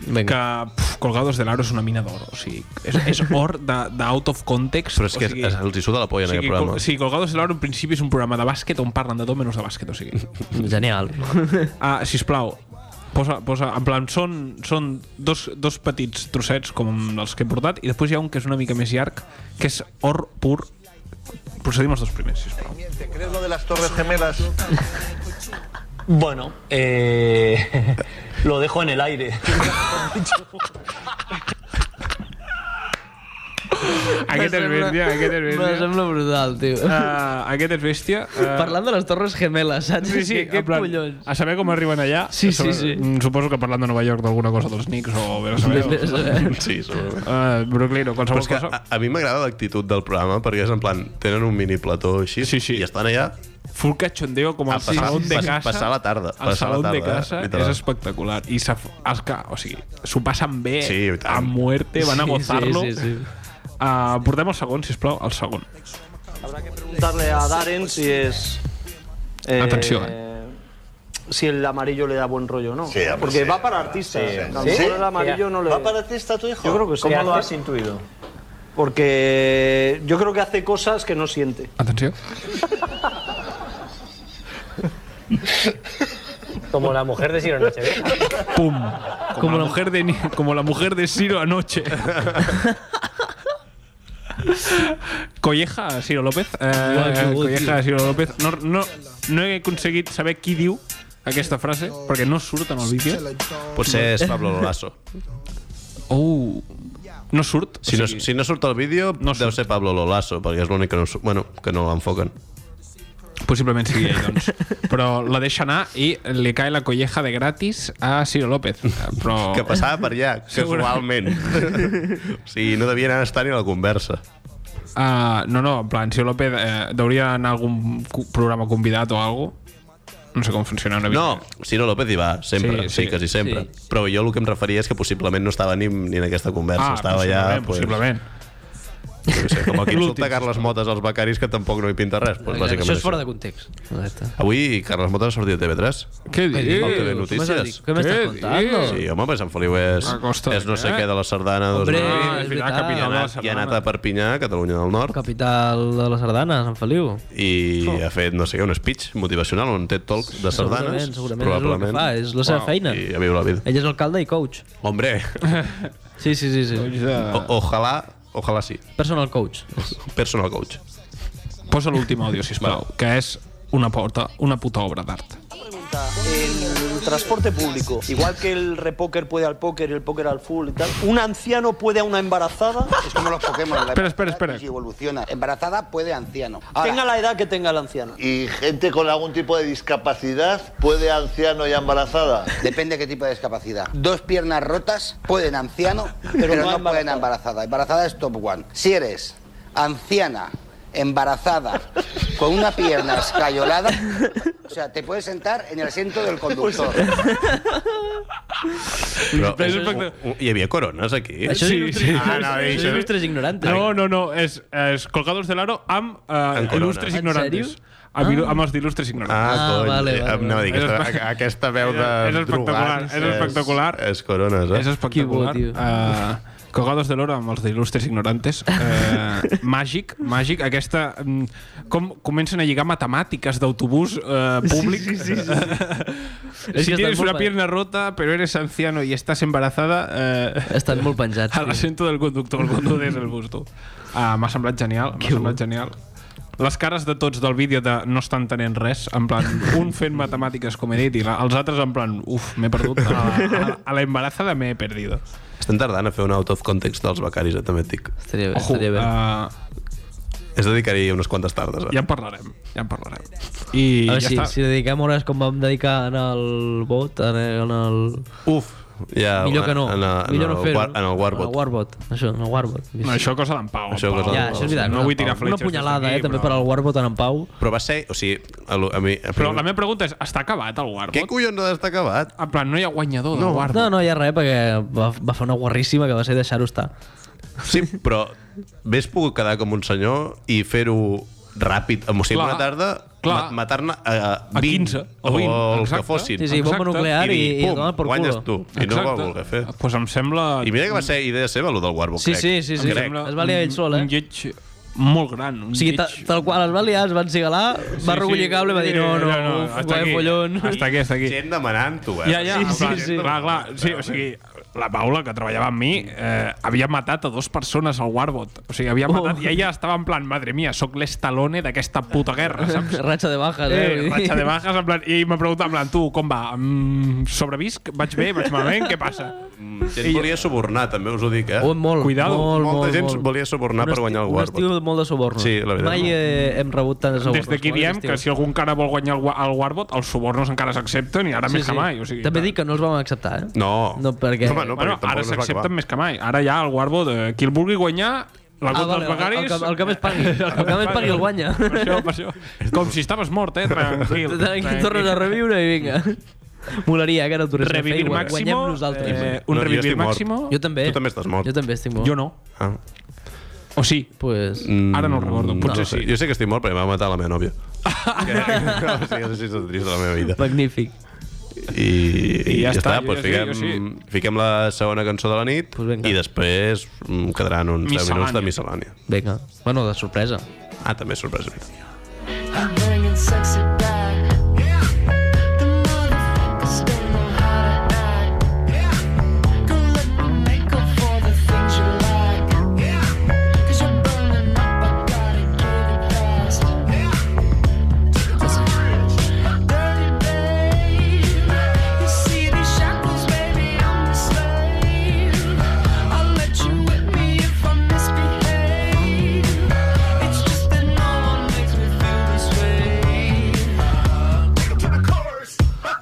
Venga. que puf, Colgados de l'Aro és una mina d'or, o sigui, és, és or de, de out of context. Però és que o sigui, els hi suda la polla o en sigui, aquest programa. Col, sí, Colgados de l'Aro en principi és un programa de bàsquet on parlen de tot menys de bàsquet, o sigui. Genial. Ah, sisplau, posa, posa, en plan, són, són dos, dos petits trossets com els que he portat i després hi ha un que és una mica més llarg, que és or pur. Procedim els dos primers, sisplau. ¿Crees lo de las Torres Gemelas? Bueno, eh, lo dejo en el aire. Aquest és bèstia, aquest és eh? bèstia. Me sembla brutal, tio. Uh, aquest és bèstia. eh. Parlant de les Torres Gemeles, saps? Sí, sí, què en plan, Ah, collons? A saber com arriben allà. Sí, a saber, sí, sí. mm, Suposo que parlant de Nova York d'alguna cosa dels Knicks o bé a saber. Bé, bé, o- Sí, segurament. Uh, Brooklyn o Però qualsevol és que cosa. a, a mi m'agrada l'actitud del programa perquè és en plan, tenen un mini plató així sí, sí. i estan allà Full cachondeo com A al passar- saló de pas- casa. passar la tarda, Al passar la saló de tarda, eh? casa Literal. és espectacular. I se, f- els que, o sigui, s'ho passen bé Sí, i tant. a muerte, van a Sí, sí, gozar-lo. sí, sí. Uh, portem el segon, sisplau, el segon. Preguntarle a Darren si es. eh, Eh. Atenció, eh? Si el amarillo le da buen rollo o no. Sí, hombre, Porque sí. va para artistas. Sí, a lo sí. mejor ¿Sí? el amarillo no le ¿Va para artista tu hijo? Yo creo que sí. ¿Eh? ¿Cómo lo Hace- has intuido? Porque yo creo que hace cosas que no siente. Atención. Como la mujer de Ciro Noche. Pum. Como, la mujer de, Ni- como la mujer de Ciro anoche. Colleja a Ciro López. Guau, que Eh, bo, colleja tio. a Ciro López. No, no, no he aconseguit saber qui diu aquesta frase, perquè no surt en el vídeo. potser Pues és Pablo Lasso Oh. No surt? Si, no, si no surt el vídeo, no deu ser Pablo Lolasso, perquè és l'únic que no, surt- bueno, que no l'enfoquen. Possiblement sigui ell, doncs. Però la deixa anar i li cae la colleja de gratis a Ciro López. Eh, Però... Que passava per allà, casualment. o sigui, no devien estar ni a la conversa. Uh, no, no, en plan, Ciro López eh, deuria anar a algun cu- programa convidat o alguna No sé com funciona una mica. No, Ciro López hi va, sempre, Sí, sí, sí, sí. quasi sempre. Sí. Sí. Però jo el que em referia és que possiblement no estava ni, ni en aquesta conversa, Ah, estava allà... possiblement, possiblement. Pues, jo què sé, com el que L'últim, insulta Carles Motes als becaris que tampoc no hi pinta res. Pues, bàsicament Això és fora de context. Correcte. Avui Carles Motes ha sortit a TV3. Què dius? Al TV Què m'has Notícies. dit? Què m'estàs Què contant? dius? Sí, home, pues Sant Feliu és, A costa és no sé de què? què de la Sardana. Hombre, dos mil. Ah, és veritat, I capital ha de la anat, I ha anat a Sardana. Perpinyà, Catalunya del Nord. Capital de la Sardana, Sant Feliu. i ha fet, no sé què, un speech motivacional, un TED Talk de sardanes. Segurament, segurament, és el que fa, és la seva feina. I a viure la vida. Ell és alcalde i coach. Hombre, Sí, sí, sí. Doncs sí. Eh. o, ojalà, ojalà sí. Personal coach. Personal coach. Posa l'últim àudio, sisplau, que és una porta, una puta obra d'art. falta el transporte público, igual que el repóker puede al póker y el póker al full y tal, un anciano puede a una embarazada. Es como los Pokémon. Espera, espera, espera. evoluciona. Embarazada puede anciano. tenga la edad que tenga el anciano. ¿Y gente con algún tipo de discapacidad puede anciano y embarazada? Depende qué tipo de discapacidad. Dos piernas rotas pueden anciano, pero, no, pueden embarazada. Embarazada es top one. Si eres anciana, embarazada, con una pierna escayolada, o sea, te puedes sentar en el asiento del conductor. Però, u- u- hi havia corones aquí? Això és il·lustres- Ah, no, això és això- il·lustres ignorantes. No, no, no, és, és Colgados de l'Aro amb eh, corona. il·lustres En ignorantes. sèrio? Amb, il- Ah. amb els d'il·lustres ignorantes. Ah, cony. Eh, Anava a dir, aquesta, És espe- a- aquesta veu de és espectacular, drogats és espectacular. És, és corones, eh? És espectacular. Uh, Colgados de l'Oro amb els d'il·lustres ignorantes. Uh, màgic, màgic. Aquesta... mm, Com comencen a lligar matemàtiques d'autobús uh, públic. Sí, sí, sí. És que si estan tienes molt una pa- pierna rota, pero eres anciano y estás embarazada... Eh, Estan molt penjats. a l'assento del conductor, el conductor és el busto. Uh, M'ha semblat genial, m'ha semblat genial. Les cares de tots del vídeo de no estan tenent res, en plan, un fent matemàtiques, com he dit, i la, els altres en plan, uf, m'he perdut, a, la- a, la- a la embarazada m'he perdido. Estan tardant a fer un out of context dels becaris, eh, també et dic. Ah. Estaria bé, Ojo, estaria bé. És dedicar-hi unes quantes tardes. Eh? Ja en parlarem, ja en parlarem. I a veure, ja si, està. si dediquem hores com vam dedicar en el bot, en el... En el... Uf, ja, Millor que no. en la- en Millor no el fer-ho. war- en el warbot. En el warbot, això, en el warbot. No, això cosa d'en Pau. Això cosa ja, d'en Pau. això és veritat. No cosa vull d'en tirar Pau. fletxes Una punyalada, des eh, d'aquí, també però- per al warbot en, en Pau. Però va ser... O sigui, a, lo- a mi... A Però la meva pregunta és, està acabat el Warbot? Què collons ha d'estar acabat? En plan, no hi ha guanyador no. No, del Warbot. no, no hi ha res, perquè va, va fer una guarríssima que va ser deixar-ho estar. Sí, però vés pogut quedar com un senyor i fer-ho ràpid, o sigui, Clar, una tarda clar. ma- matar-ne a, A 20, 15 o 20, o els que exacte. fossin. Sí, sí, bomba Exacte. nuclear dir, i- i a pum, tomar por guanyes culo. tu. I no ho va Exacte. voler fer. Pues em sembla... I mira que va ser idea seva, allò del Warbook, Sí, crec. sí, sí, sí. Crec. Sembla- Es va liar ell sol, eh? Un lleig molt gran. Un O sigui, ta, lleig... tal qual es va liar, es van cigalar, va recollir cable i va dir no, no, uf, vaya follón. Hasta aquí, hasta aquí. Gent demanant-ho, eh? Ja, ja, sí, sí, sí. Clar, clar, sí, o sigui, la Paula, que treballava amb mi, eh, havia matat a dos persones al Warbot. O sigui, havia matat i ella estava en plan, madre mia, sóc l'estalone d'aquesta puta guerra, saps? Ratxa de bajas, eh? Eh, ratxa de bajas, en plan, i m'ha preguntat, en plan, tu, com va? Mm, sobrevisc? Vaig bé? Vaig malament? Què passa? Gent volia subornar, també us ho dic, eh? Oh, molt, Cuidado. molt, Molta molt, gent molt. volia subornar per guanyar el Un Warbot. estiu molt de subornos. Sí, la veritat. Mai eh, hem rebut tants subornos. Des d'aquí com aquest diem estiu. que si algun cara vol guanyar el, wa- el Warbot, els subornos encara s'accepten i ara més que mai. O sigui, També dic que no els vam acceptar, eh? No. No, perquè... bueno, ara s'accepten més que mai. Ara ja el Warbot, eh, qui el vulgui guanyar, la Ah, contra vale, dels becaris... el que- el que més pagui. El que més pagui el guanya. Per això, per això. Com si estaves mort, eh? Tranquil. Aquí tornes a reviure i vinga. Molaria, eh, que no t'ho res a fer Revivir i guanyem Máximo, nosaltres. eh, un No, jo revivir estic mort. Máximo. Jo també. Tu també estàs mort. Jo també estic mort. Jo no. Ah. Mm, O sí. Pues... Ara no ho recordo, potser no sé. sí. Jo sé que estic mort perquè m'ha matat la meva nòvia. que, o sigui, és així de trist de la meva vida. Magnífic. I, I ja, està, jo doncs sí, jo fiquem, fiquem la segona cançó de la nit pues i després mm, quedaran uns 10 minuts de miscel·lània. Vinga. Bueno, de sorpresa. Ah, també és sorpresa. I'm bringing sexy back. The motherfuckers don't know how to act. Don't let me make up for the things you lack. 'Cause you're burning up, I gotta give it fast. Listen. Dirty babe, you see these shackles, baby, I'm the slave. I'll let you whip me if I misbehave. It's just that no one makes me feel this way. Take 'em to the chorus.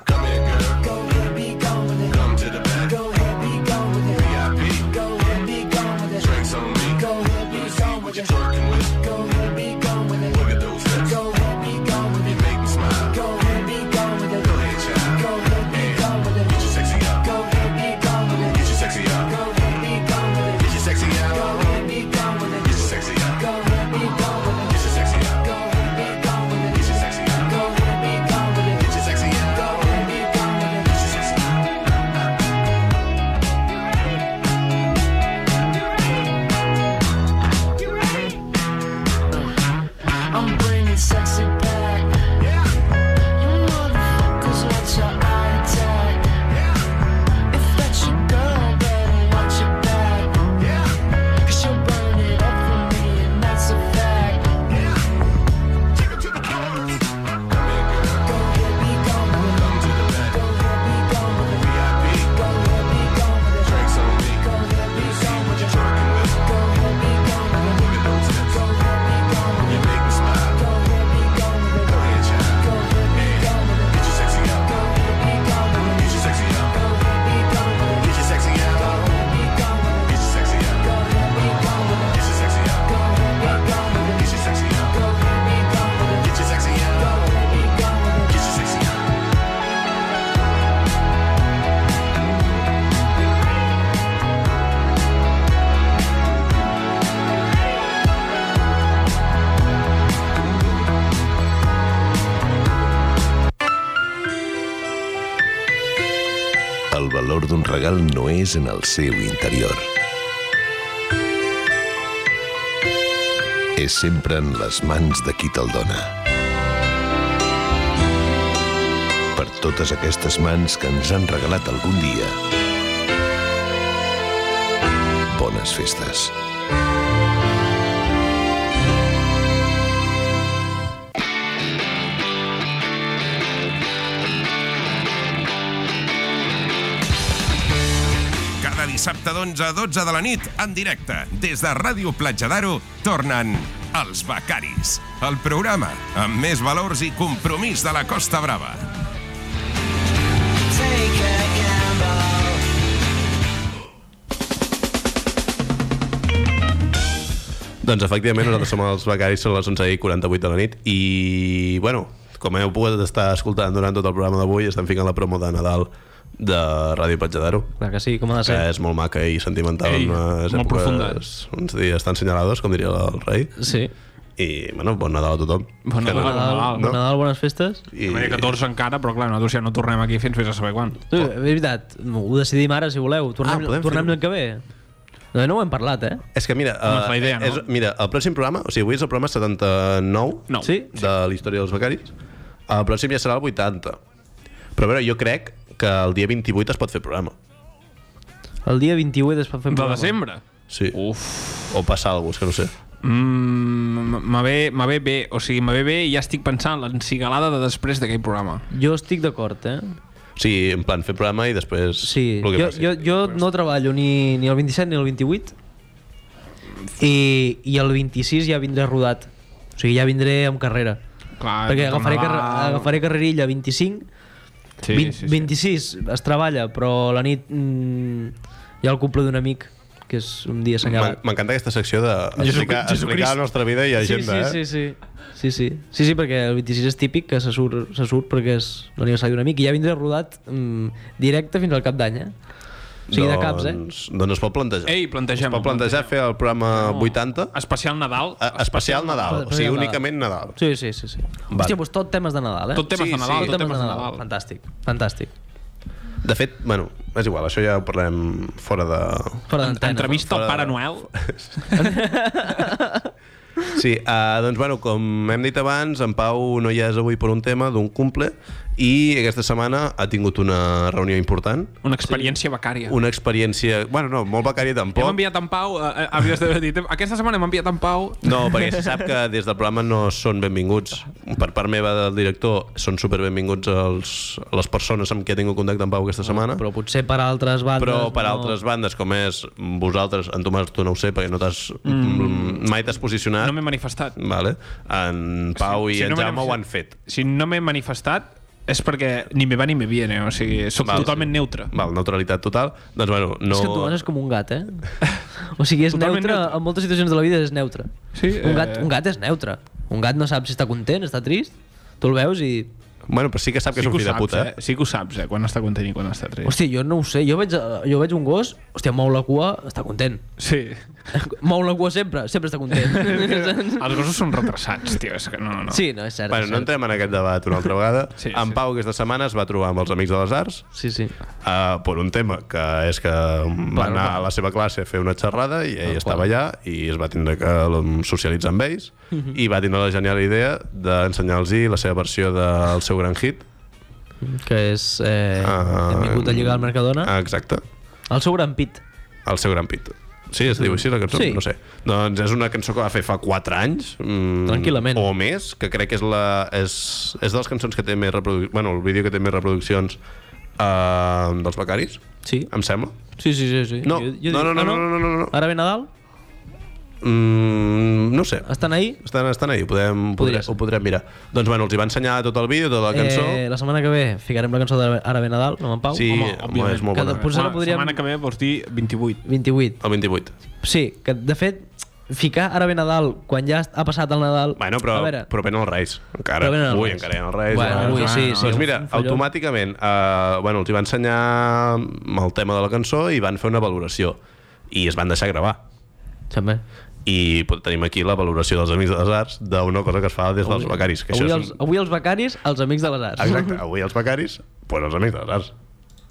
Come here, girl. Go ahead, be gone with it. Come to the back. Go ahead, be gone with it. VIP. Go ahead, be gone with it. Drinks on me. Go ahead, be gone with it. Twerking with. Go ahead, be gone with it. Look at those lips. Go ahead, be gone with it. You make me smile. Go ahead, be gone with it. Go ahead, child. Go ahead, be gone with it. Get your sexy out. Go ahead, be gone with it. Get your sexy out. Go ahead, be gone with it. Get your sexy out. Go ahead, be gone with it. Get your sexy out. Go ahead, be gone with it. Get your sexy out. Go ahead, be gone with it. Get your sexy out. Go ahead, be gone with it. Get your sexy out. Go ahead, be gone with it. Get your sexy out. You ready? regal no és en el seu interior. És sempre en les mans de qui te'l dona. Per totes aquestes mans que ens han regalat algun dia, bones festes. Cada dissabte d'11 a 12 de la nit, en directe, des de Ràdio Platja d'Aro, tornen els Becaris, el programa amb més valors i compromís de la Costa Brava. Doncs efectivament nosaltres som els becaris, són les 11 i 48 de la nit i, bueno, com heu pogut estar escoltant durant tot el programa d'avui, estem ficant la promo de Nadal de Ràdio Platja d'Aro. Clar que sí, com ha de ser. Que és molt maca i sentimental. Ei, en unes molt profunda. Uns dies tan senyalados, com diria el rei. Sí. I, bueno, bon Nadal a tothom. Bon Que Nadal, bon Nadal. Bon Nadal, bones festes. I... 14 encara, però clar, nosaltres ja no tornem aquí fins vés a saber quan. Sí, és veritat, ho decidim ara, si voleu. Tornem, podem ah, tornem fer-ho. l'any que ve. No, no ho hem parlat, eh? És que mira, No és eh, la idea, no? és, mira, el pròxim programa, o sigui, avui és el programa 79 No. Sí? de la història dels becaris, el pròxim ja serà el 80. Però a veure, jo crec que el dia 28 es pot fer programa. El dia 28 es pot fer un programa. Sí. Uf. O passar alguna cosa, que no sé. Mm, me ve, me ve bé, o sigui, me ve bé i ja estic pensant en l'encigalada de després d'aquell programa. Jo estic d'acord, eh? Sí, en plan, fer programa i després... Sí, el que Jo, passi. jo, jo no treballo ni, ni el 27 ni el 28 i, i el 26 ja vindré rodat. O sigui, ja vindré amb carrera. Clar, Perquè com agafaré, carre, Nadal. agafaré carrerilla 25, Sí, 20, sí, sí. 26 es treballa, però la nit mm, hi ha el cumple d'un amic, que és un dia M'en- assenyalat. M'encanta aquesta secció d'explicar Jesucrist. de explicar la nostra vida i agenda, sí, sí, eh? sí, sí, sí, sí, sí, sí, perquè el 26 és típic que se surt, se surt perquè és l'aniversari d'un amic i ja vindré rodat mm, directe fins al cap d'any, eh? O sigui, de caps, eh? doncs, Doncs es pot plantejar. Ei, plantegem-ho, Es pot plantejar fer el programa No. 80. Especial Nadal. A, especial Nadal, o sigui, únicament Nadal. Sí, sí, sí. sí. Vale. Hòstia, doncs tot temes de Nadal, eh? Tot temes Sí, de Nadal, sí. tot temes de Nadal. Fantàstic, fantàstic. De fet, bueno, és igual, això ja ho parlarem fora de... Fora d'antena. Entrevista al Pare Noel. Sí, uh, doncs bueno, com hem dit abans, en Pau no hi és avui per un tema d'un cumple i aquesta setmana ha tingut una reunió important. Una experiència sí. becària. Una experiència... Bueno, no, molt becària Hem tampoc. enviat en Pau, eh, eh, havies d'haver dit, aquesta setmana hem enviat en Pau. No, perquè se sap que des del programa no són benvinguts. Per part meva del director, són superbenvinguts els, les persones amb qui ha tingut contacte en Pau aquesta setmana. Però potser per altres bandes... Però per no... altres bandes, com és vosaltres, en Tomàs, tu no ho sé, perquè no t'has... Mm. Mai t'has posicionat. No m'he manifestat. Vale. En Pau i en m'he Jaume ho han manifestat- fet. Si no m'he manifestat, és perquè ni me va ni me viene, o sigui, soc Val, totalment neutre. Val, neutralitat total. Doncs bueno, No. no... És que en Tomàs és com un gat, eh? O sigui, és Totalment neutre, neutre. en moltes situacions de la vida és neutre. Sí, un, gat, eh. un gat és neutre. Un gat no sap si està content, està trist. Tu el veus i... Bueno, però sí que sap sí ho saps, eh? Sí que ho saps, eh? Quan està content i quan està trist. Hòstia, jo no ho sé. Jo veig, eh, jo veig un gos, hòstia, mou la cua, està content. Sí. Mou la cua sempre, sempre està content. Els gossos són retrasats, tio, és que no, no. Sí, no, és cert. Bueno, és no cert. entrem en aquest debat una altra vegada. sí, en Pau aquesta setmana es va trobar amb els Amics de les Arts sí, sí. Uh, per un tema, que és que va anar a la seva classe a fer una xerrada i ell estava allà i es va tindre que um, socialitzar amb ells Mhm. i va tindre la genial idea d'ensenyar-los la seva versió del seu gran hit. Que és... Eh, uh, hem vingut a lligar al Mercadona. Ah, exacte. El seu gran pit. El seu gran pit. Sí, es diu així la cançó? Sí. No sé. Doncs és una cançó que va fer fa 4 anys. Mm, Tranquil·lament. O més, que crec que és, la, és, és de les cançons que té més reproduccions... Bueno, el vídeo que té més reproduccions uh, dels Becaris. Sí. Em sembla. Sí, sí, sí. sí. No, no, no, ah, no, no, no, no. Ara ve Nadal? Mm, no ho sé. Estan ahí? Estan, estan ahí, ho, podem, podré, ho podrem mirar. Doncs bueno, els hi va ensenyar tot el vídeo, tota la cançó. Eh, la setmana que ve ficarem la cançó d'Ara ve Nadal, no en Pau? Sí, home, és molt bona. Que potser la podríem... setmana que ve vols dir 28. 28. El 28. Sí, que de fet, ficar Ara ve Nadal quan ja ha passat el Nadal... Bueno, però, A veure, però venen els Reis, encara. Però venen els Avui Reis. encara hi ha els Reis. Bueno, eh? avui sí, sí, Doncs un- mira, un follón. automàticament, eh, bueno, els hi va ensenyar el tema de la cançó i van fer una valoració. I es van deixar gravar. També. I pot- tenim aquí la valoració dels Amics de les Arts d'una cosa que es fa des dels becaris. Que avui, això els, avui els becaris, els amics de les arts. és... Exacte, avui els becaris, però els Amics de les Arts.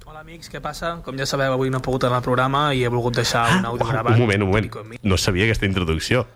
Hola, amics, què passa? Com ja sabeu, avui no he pogut anar al programa i he volgut deixar Ah, un audio gravat. Un moment, un moment. No sabia aquesta introducció.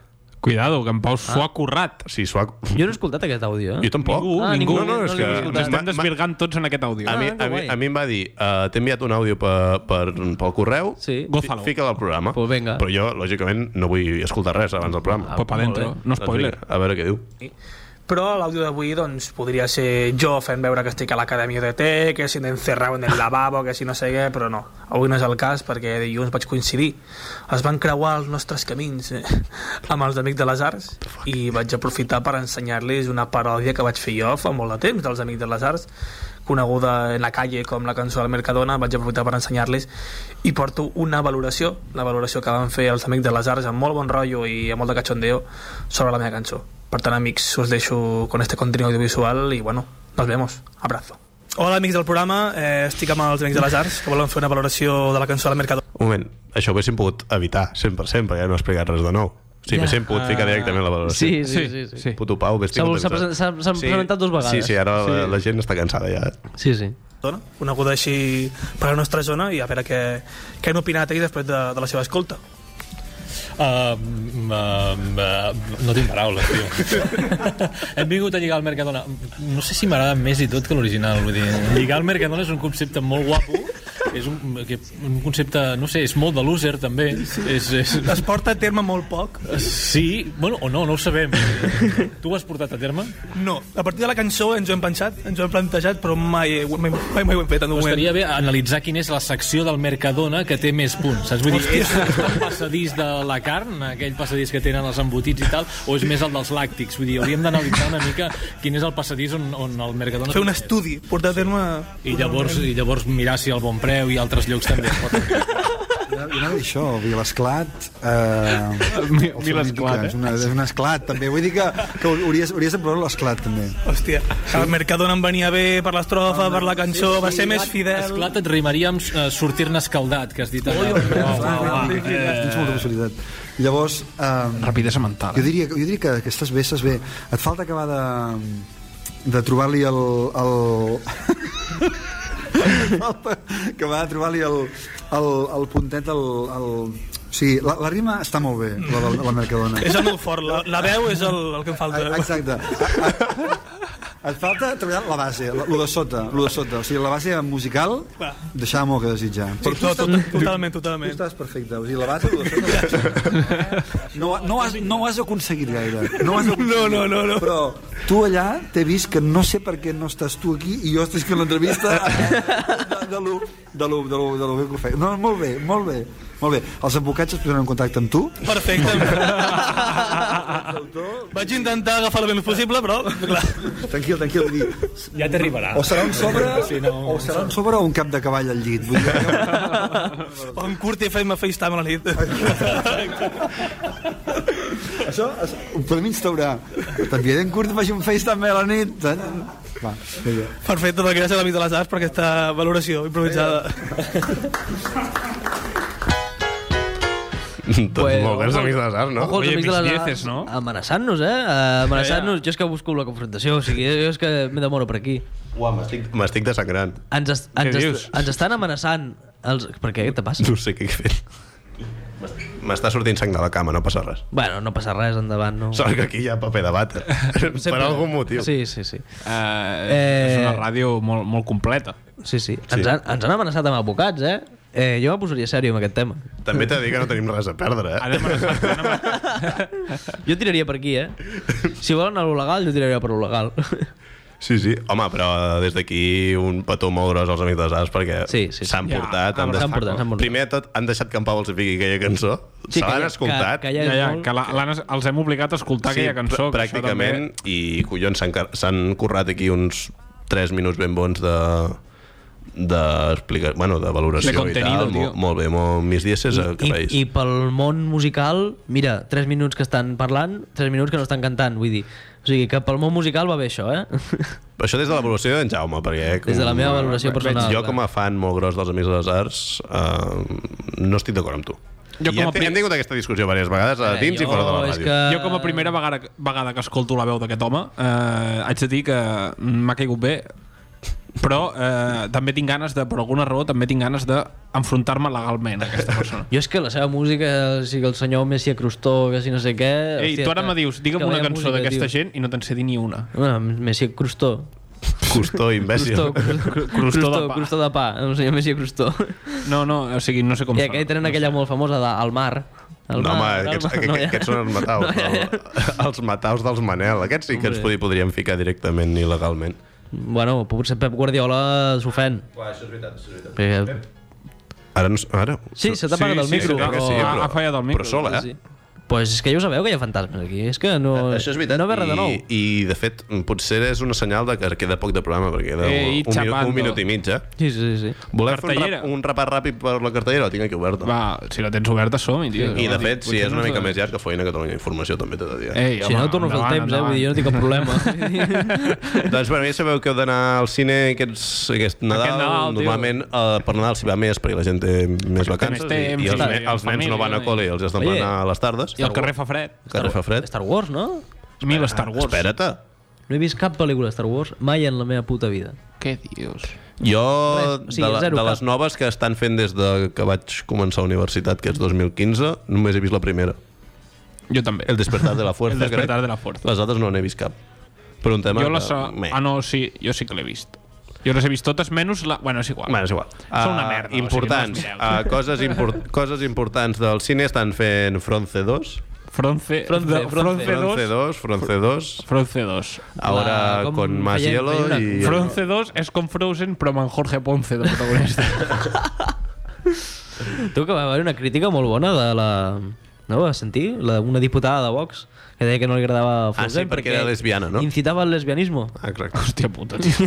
Cuidado, que en Pau s'ho ha currat. Sí, s'ho ha... Ah. Jo no he escoltat aquest àudio, eh? Jo tampoc. Ningú, Ah, ningú. No, no, és No que... l'he escoltat. Estem desvirgant tots en aquest àudio. A mi, Ah, que a, mi, guai. a mi em va dir, uh, t'he enviat un àudio per, per, pel correu, sí. Gózalo. fica al programa. Pues venga. Però jo, lògicament, no vull escoltar res abans del programa. Ah, Pues pa dentro, Molt bé. no spoiler. Doncs vinga, a veure què diu. Però l'àudio d'avui doncs, podria ser jo fent veure que estic a l'acadèmia de té, que si encerrau en el lavabo, que si no sé què, però no. Avui no és el cas perquè dilluns vaig coincidir. Es van creuar els nostres camins eh, amb els d'Amics de les Arts i vaig aprofitar per ensenyar-los una paròdia que vaig fer jo fa molt de temps dels Amics de les Arts coneguda en la calle com la cançó del Mercadona, vaig aprofitar per ensenyar-los i porto una valoració, la valoració que van fer els amics de les arts amb molt bon rotllo i amb molt de cachondeo sobre la meva cançó. Per tant, amics, us deixo con este contenido audiovisual i, bueno, nos vemos. Abrazo. Hola, amics del programa. Eh, estic amb els Amics de les Arts, que volen fer una valoració de la cançó del Mercadona. Un moment, això ho haguéssim pogut evitar 100%, perquè ja no ha explicat res de nou. Sí, Ja. Ah. yeah. haguéssim pogut ficar directament la valoració. Sí, sí, sí, sí. Puto Pau, vés S'ha- s'ha presen- s'ha- s'han presentat dos vegades. Sí, sí, ara sí. La, Sí. la gent està cansada ja. Sí, sí. Coneguda així per la nostra zona i a veure què, què han opinat ells després de, de la seva escolta. Uh, uh, uh, no tinc paraules, tio. Hem vingut a lligar al Mercadona. No sé si m'agrada més i tot que l'original. Vull dir, lligar al Mercadona és un concepte molt guapo. És un, que, un concepte, no sé, és molt de loser, també. És, és... Es porta a terme molt poc. Sí, bueno, o no, no ho sabem. Tu ho has portat a terme? No, a partir de la cançó ens ho hem pensat, ens ho hem plantejat, però mai, mai, mai, mai ho hem fet. En un Però moment. estaria bé analitzar quina és la secció del Mercadona que té més punts, saps? Vull dir, és el passadís de la carn, aquell passadís que tenen els embotits i tal, o és més el dels làctics? Vull dir, hauríem d'analitzar una mica quin és el passadís on, on el Mercadona... Fer un estudi, portar a terme... I llavors, I llavors mirar si el bon preu i altres llocs també es pot... Jo anava a dir això, Vilesclat... Eh, Vilesclat, És, una, és un esclat, també. Vull dir que, que hauries, hauries de provar l'esclat, també. Hòstia, el Mercadona em venia bé per l'estrofa, per la cançó, va ser més fidel. Esclat, et rimaria amb eh, sortir-ne escaldat, que has dit... Ui, Ah, eh. Tens molta possibilitat. Llavors... Eh, Rapidesa mental. Jo diria, jo diria que aquestes veces, bé, et falta acabar de, de trobar-li el... el... Et falta acabar de trobar-li el, el, el puntet, el... el... Sí, la, la rima està molt bé, la, la, la Mercadona. És el meu fort, la, la veu és el, el que em falta. Exacte. Et falta treballar la base, la- lo de sota, lo de sota. O sigui, la base musical Va. deixava molt que desitjar. Però tu No, estàs- tot, totalment, totalment. estàs perfecte, o sigui, la base... lo de sota- No, no, has, no ho has aconseguit gaire. No, ho has aconseguit. no, no, no. Però tu allà t'he vist que no sé per què no estàs tu aquí i jo estic fent l'entrevista de, de, lo- de, lo- de, lo- de lo bé que ho feia. No, molt bé, molt bé. Molt bé. Els advocats es posaran en contacte amb tu. Perfecte. Vaig intentar agafar el menys possible, però... Clar. Tranquil, tranquil. Vull dir, Ja t'arribarà. O serà un sobre, Sí, sí, no, no, o serà un sobre o un cap de cavall al llit. Vull dir, O em curti fent-me FaceTime a la nit. això es, ho podem instaurar. T'enviaré en curt, faci un FaceTime a la nit. eh? Va, vinga. Perfecte, doncs gràcies a l'amic de les arts per aquesta valoració improvisada. Eh. Tots pues, Doncs molt bons amics de les arts, no? Ojo, els amics de les arts amenaçant-nos, eh? Eh, Amenaçant-nos. Jo és que busco la confrontació, o sigui, jo és que me demoro per aquí. Uah, m'estic... M'estic desangrant. Ens, est Què ens, dius? est ens estan amenaçant. Els... Per què? Què te passa? No sé què he fet. M'està sortint sang de la cama, no passa res. Bueno, no passa res, endavant. No. Sort que aquí hi ha paper de vàter. Per algun motiu. Sí, sí, sí. Eh, és una ràdio molt, molt completa. Sí, sí. Ens, han, ens han amenaçat amb advocats, eh? eh jo em posaria sèrio amb aquest tema. També t'he de dir que no tenim res a perdre, eh? Jo tiraria per aquí, eh? Si volen anar a lo legal, jo tiraria per lo legal. Sí, sí. Home, però des d'aquí un petó molt gros als amics de les arts perquè s'han sí, sí, Ja, portat, Ah, s'han han deixat- portat, s'han portat. Primer de tot, han deixat que en Pau els fiqui aquella cançó. Sí, Se que l'han ja- escoltat. que- que ja és Ja, ja, molt- que la- l'han- els hem obligat a escoltar aquella cançó, pr- que això Pràcticament, i collons, s'han car- s'han currat aquí uns 3 minuts ben bons de d'explicar, bueno, de valoració De i contenido, tal. tio. Molt, molt bé, molt, mis dieces a que I, veis. I pel món musical, mira, 3 minuts que estan parlant, 3 minuts que no estan cantant, vull dir. O sigui, que pel món musical va bé això, eh? Això des de la valoració d'en Jaume, perquè... Des de la meva valoració veig- personal, Jo, clar. com a fan molt gros dels Amics de les Arts, eh, no estic d'acord amb tu. Jo com I a hem, pri- hem tingut aquesta discussió diverses vegades, a Eh, dins i jo fora de la és ràdio. que... Jo com a primera vegada, vegada que escolto la veu d'aquest home eh, haig de dir que m'ha caigut bé però eh, també tinc ganes de, per alguna raó, també tinc ganes d'enfrontar-me legalment a aquesta persona. Jo és que la seva música, o sigui, el senyor Messi Crustó, que si no sé Eh, què... Ei, tu ara me dius, digue'm una cançó d'aquesta gent i no te'n sé dir ni una. Bueno, Messi Crustó. Custó, imbècil. Crustó, Crustó, Crustó, de pa. Crustó de pa. El senyor Messi Crustó. No, no, o sigui, no sé com I aquell tenen aquella molt famosa de Al mar. Al No, home, mar, al aquests, mar. aquests, No, ja. aquests són els mataus. No, ja, ja. però Els mataus dels Manel. Aquests sí que ens Hombre. podri- podríem ficar directament il·legalment. Bueno, potser Pep Guardiola s'ofèn. Això és veritat, això és veritat. Perquè Ara no... s- Ara... Sí, se t'ha apagat el micro, crec que però- Sí, però, Ha fallat el micro, Però sola, sí, eh? Pues és que ja ho sabeu que hi ha fantasmes aquí. És que no... Això és veritat. No ve res de nou. I, I, de fet, potser és una senyal de que queda poc de programa, perquè queda Eh, i un, un, minu- chapando. un minut i mig, eh? Sí, sí, sí. Volem fer un, Cartellera. rap, un repàs ràpid per la cartellera? La tinc aquí oberta. Va, si la tens oberta, som-hi, tio. I, de Home, fet, si potser és no una ens mica ho- més llarg que Feina Catalunya Informació, també t'he de dir. Ei, Si no, torno a fer el temps, eh? Vull dir, jo no tinc cap problema. doncs, bueno, ja sabeu que heu d'anar al cine aquests, aquest Nadal. Aquest Nadal, tio. normalment, eh, per Nadal s'hi va més, perquè la gent té més vacances i, temps, i i els, ne els nens família, no van a i- col·le, els has d'emplenar Oye, a les tardes. i el carrer fa fred. El carrer fa fred. Star Wars, no? Mil Star Wars. Espera't. No he vist cap pel·lícula de Star Wars mai en la meva puta vida. Què dius? Jo, Res, o sigui, de, la, zero de cap. les noves que estan fent des de que vaig començar a la universitat, que és 2015, només he vist la primera. Jo també. El despertar de la fuerza. El despertar crec. de la fuerza. Les altres no n'he vist cap. Però un tema... Jo la que- sa... meh. Ah, no, sí, jo sí que l'he vist. Jo les he vist totes, menys la... Bueno, és igual. Bueno, és igual. Són una Ah, merda. Importants. O sigui, no Ah, coses, impor coses importants del cine estan fent Fronce 2. Fronce, Fronce, Fronce, Fronce 2. 2. Fronce 2. Fronce 2. Ahora con más hielo y... Fronce 2 és com Frozen, però amb en Jorge Ponce de protagonista. Tu que va haver una crítica molt bona de la... No ho vas sentir? La, una diputada de Vox que deia que no li agradava Ah, Frozen sí, perquè era lesbiana, no? incitava al lesbianisme. Ah, Exacte. Hòstia puta, tio.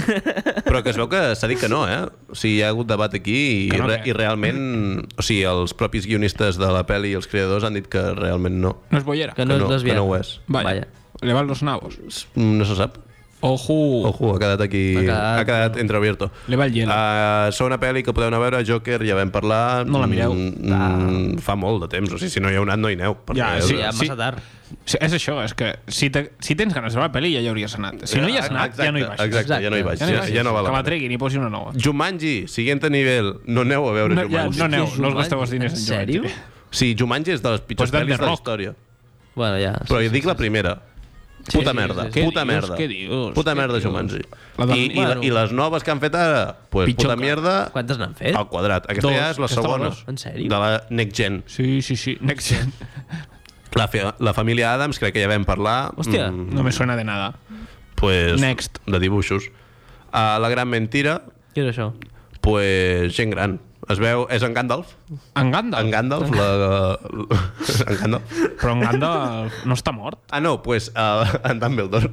Però que es veu que s'ha dit que no, eh? O sigui, hi ha hagut debat aquí i, Que no, no, re què? i realment... O sigui, els propis guionistes de la pel·li i els creadors han dit que realment no. No és bollera. Que no Que no- és lesbiana. que no ho és. Vaya. Vaya. Le van los nabos. Mm, No se sap. Ojo. Ojo, ha quedat aquí... Ha quedat- quedat, ha quedat entreobierto. Le va el hielo. Uh, sou una pel·li que podeu anar a veure, Joker, ja vam parlar... No la mireu. Mm, mm, fa molt de temps, o sigui, si no hi heu anat, no hi aneu. perquè- tard. Sí, és això, és que si, te, si tens ganes de veure la pel·li ja hi hauries anat. Si no hi has anat, ja no hi Exacte, baixes. exacte, ja no hi baixes, ja- ja no val la Que la pena. treguin i posin una nova. Jumanji, siguiente nivell. No aneu a veure No, ja, Jumanji. no aneu, no us gasteu els diners en En Jumanji. sèrio? Sí, Jumanji és de les pitjors Pues Dan pel·lis The de la Rock. història. Bueno, ja. Però jo dic la primera. Sí, puta sí, merda, sí, sí. puta Què dius, merda. què dius, puta què merda, dius? Jumanji. La de- I, i, Bueno. i les noves que han fet ara? Pues, Pitjor puta que- merda. Quantes n'han fet? Al quadrat. Aquesta Dos. ja és la Aquesta segona. bona. En sèrio? De la Next Gen. Sí, sí, sí. Next Gen. La, fe, la família Adams, crec que ja vam parlar. Mm. Hòstia. Mm. No me suena de nada. Pues, Next. De dibuixos. Uh, la gran mentira, Què és això? pues, gent gran. Es veu... És en Gandalf. En Gandalf? En Gandalf. La, la, en Gandalf. Però en Gandalf no està mort. Ah. Ah, no, pues, uh, en Dumbledore.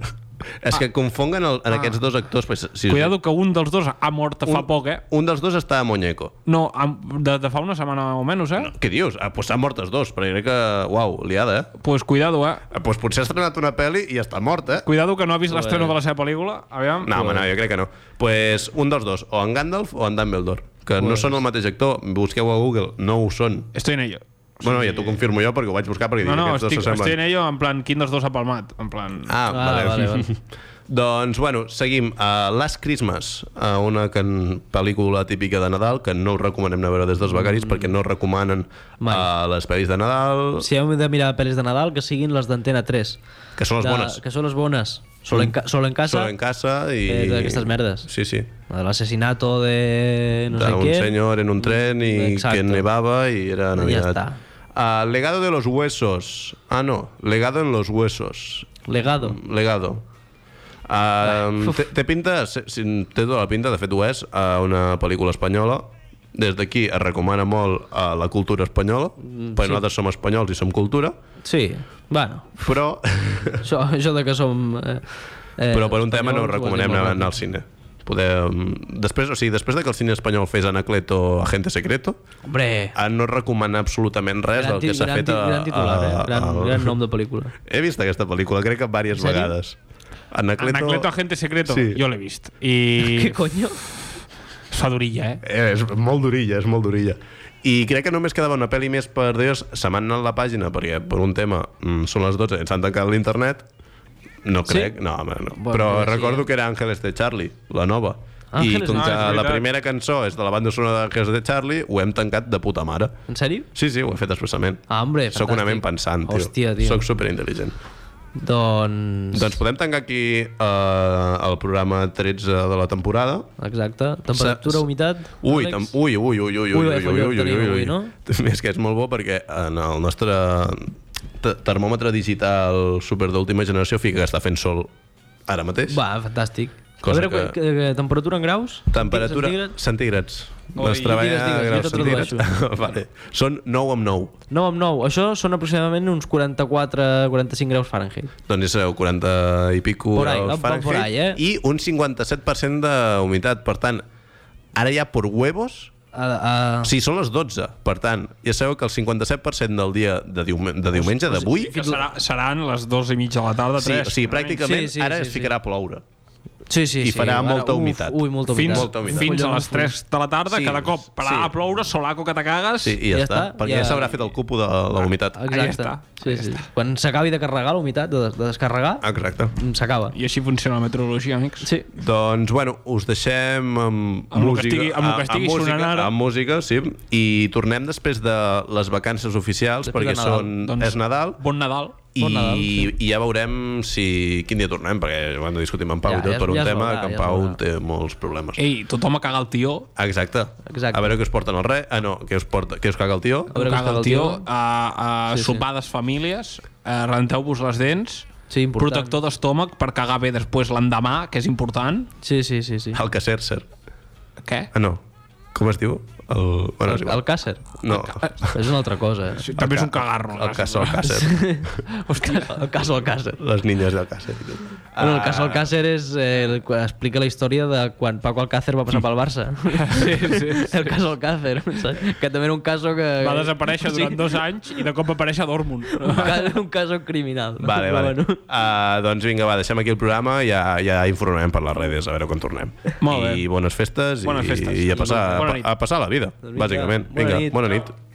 És que confonguen el, en aquests dos actors. Pues, sí, Cuidado que un dels dos ha mort fa poc, eh? Un dels dos està a Moñeco. No, am- de, de fa una setmana o menys, eh? Què dius? Ah, pues s'han mort els dos, però jo crec que... Uau, liada, eh? Pues cuidado, eh? Ah, pues potser ha estrenat una pel·li i està mort, eh? Cuidado que no ha vist Joder. l'estreno de la seva pel·lícula. Aviam. No, home, no, jo crec que no. Pues un dels dos, o en Gandalf o en Dumbledore, que no són el mateix actor. Busqueu a Google, no ho són. Estoy en ello. Bueno, ja t'ho confirmo jo perquè ho vaig buscar perquè No, dic, no, aquests dos estic, estic en s'assemblen. ello en plan quin dels dos ha palmat. En plan... Ah, vale. doncs, bueno, seguim. Uh, Last Christmas, uh, una can... pel·lícula típica de Nadal que no us recomanem anar a veure des dels Mm. becaris perquè no recomanen uh, les pel·lis de Nadal, Si heu de mirar pel·lis de Nadal, que siguin les d'Antena 3. que són les de, bones. Que són les bones. Solo en, ca solo en casa. Solo en casa i... Eh, d'aquestes merdes. Sí, sí. La de l'assassinato de... No de sé un quién. señor en un tren y Exacto. que nevaba y era Navidad. está. Ah, legado de los huesos. Ah, no. Legado en los huesos. Legado. Legado. Ah, té, té pinta, si- si- té tota la pinta, de fet ho és, a una pel·lícula espanyola. Des d'aquí es recomana molt a la cultura espanyola, perquè Mm, sí. nosaltres som espanyols i som cultura, Sí, bueno. Però... Això, això de que som... Eh, eh, però per un tema no espanyols, us ho recomanem has dit molt anar, bé. anar al cine. Podem... Després, o sigui, després de que el cine espanyol fes Anacleto Agente Secreto, Hombre, a no recomanar absolutament res gran, del que ti- s'ha gran, fet ti- a, gran titular, a, eh? gran, al- gran nom de pel·lícula. He vist aquesta pel·lícula, crec que diverses En sèrio? vegades. Anacleto... Anacleto Agente Secreto, Sí. jo l'he vist. I... Què coño? Es fa durilla, eh? Eh, és molt durilla, és molt durilla. I crec que només quedava una pel·li més per Dios, se m'ha anat la pàgina, perquè per un tema mm, són les 12 i s'han tancat l'internet. No crec, no, home, no. Bueno, Però sí, recordo que era Ángeles de Charlie, la nova. I Ah, Ángeles com Negros, que és la veritat. primera cançó és de la banda sonora de Ángeles de Charlie, ho hem tancat de puta mare. En sèrio? Sí, sí, ho he fet expressament. Ah, hombre, Soc fantàstic. una ment pensant, tio. Hòstia, tio. Soc superintel·ligent. Doncs... Doncs podem tancar aquí eh, el programa 13 de la temporada. Exacte. Temperatura, Sa- humitat... Ui, Àlex? tam, ui, ui, ui, ui, ui, Ui, ui, vaya ui, ui, follón ui, tenim ui, avui, ui. no? És que és molt bo perquè en el nostre te- termòmetre digital super d'última generació fica que està fent sol ara mateix. Va, fantàstic. Cosa a veure, que- que... Que, temperatura en graus? Temperatura Centígrads? centígrads. Oi, Es treballa digues, digues, a jo graus te tradueixo. centígrads. vale. Són 9 amb 9. 9 amb 9. Això són aproximadament uns 44-45 graus Fahrenheit. Doncs és el 40 i pico Por ahí, graus va- va por ahí, eh? i un 57% de humitat. Per tant, ara ja por huevos... Uh, uh... Sí, són les 12. Per tant, ja sabeu que el 57% del dia de, diume de diumenge d'avui... Que serà, seran les dues i mitja de la tarda, Sí, tres. eh? o sigui, pràcticament sí, sí, ara sí, es ficarà a ploure. Sí, sí, I sí. farà Ara, molta uf, humitat. ui, molta Fins, humitat. Molta humitat. fins a les Collons, 3 de la tarda, Sí, cada cop pararà sí. a ploure, solaco que te cagues... Sí, i ja, ja està, perquè ja, s'haurà fet el cupo de la humitat. Exacte. Sí, sí. Quan s'acabi de carregar la humitat, de, de descarregar, Exacte. s'acaba. I així funciona la meteorologia, amics. Sí. Doncs, bueno, us deixem amb, Amb lo que música, estigui- amb lo que estigui amb sonant música, ara. Amb música, sí. I tornem després de les vacances oficials, Després perquè de Nadal. són, Doncs, és Nadal. Bon Nadal. I, Bon Nadal, sí. I ja veurem si, quin dia tornem, perquè ho hem de discutir amb en Pau Ja, ja, i tot, ja es- per un ja es tema veurà, que en ja es Pau veurà. té molts problemes. Ei, tothom a cagar el tió. Exacte. Exacte. A veure què us porten al re... Ah, no, què us, porta, què us caga el tio. A veure caga el tio. A, a Sí, sí. sopades famílies, eh, renteu-vos les dents, sí, protector d'estómac per cagar bé després l'endemà, que és important. Sí, sí, sí. sí. El cacercer. Què? Ah, no. Com es diu? El, bueno, El, és igual. el càcer. No. És una altra cosa. eh? Sí, també és un cagarro. El cas al càcer. Hòstia, el cas al càcer. Les niñes del càcer. Ah. Bueno, el cas Alcácer és, eh, el que explica la història de quan Paco Alcácer va passar pel Barça. Sí, sí. El cas Alcácer, saps? que també era un cas que... Va desaparèixer durant dos anys i de cop va aparèixer a Dortmund. Un cas, un cas criminal. Vale, Però vale. Bueno, Uh, doncs vinga, va, deixem aquí el programa i ja, ja informem per les redes a veure quan tornem. Molt bé. I bones festes, Bones i, festes. i a, passar, Bona a, nit. a passar la vida, Doncs doncs vinga, bàsicament. bona Vinga, nit. bona nit.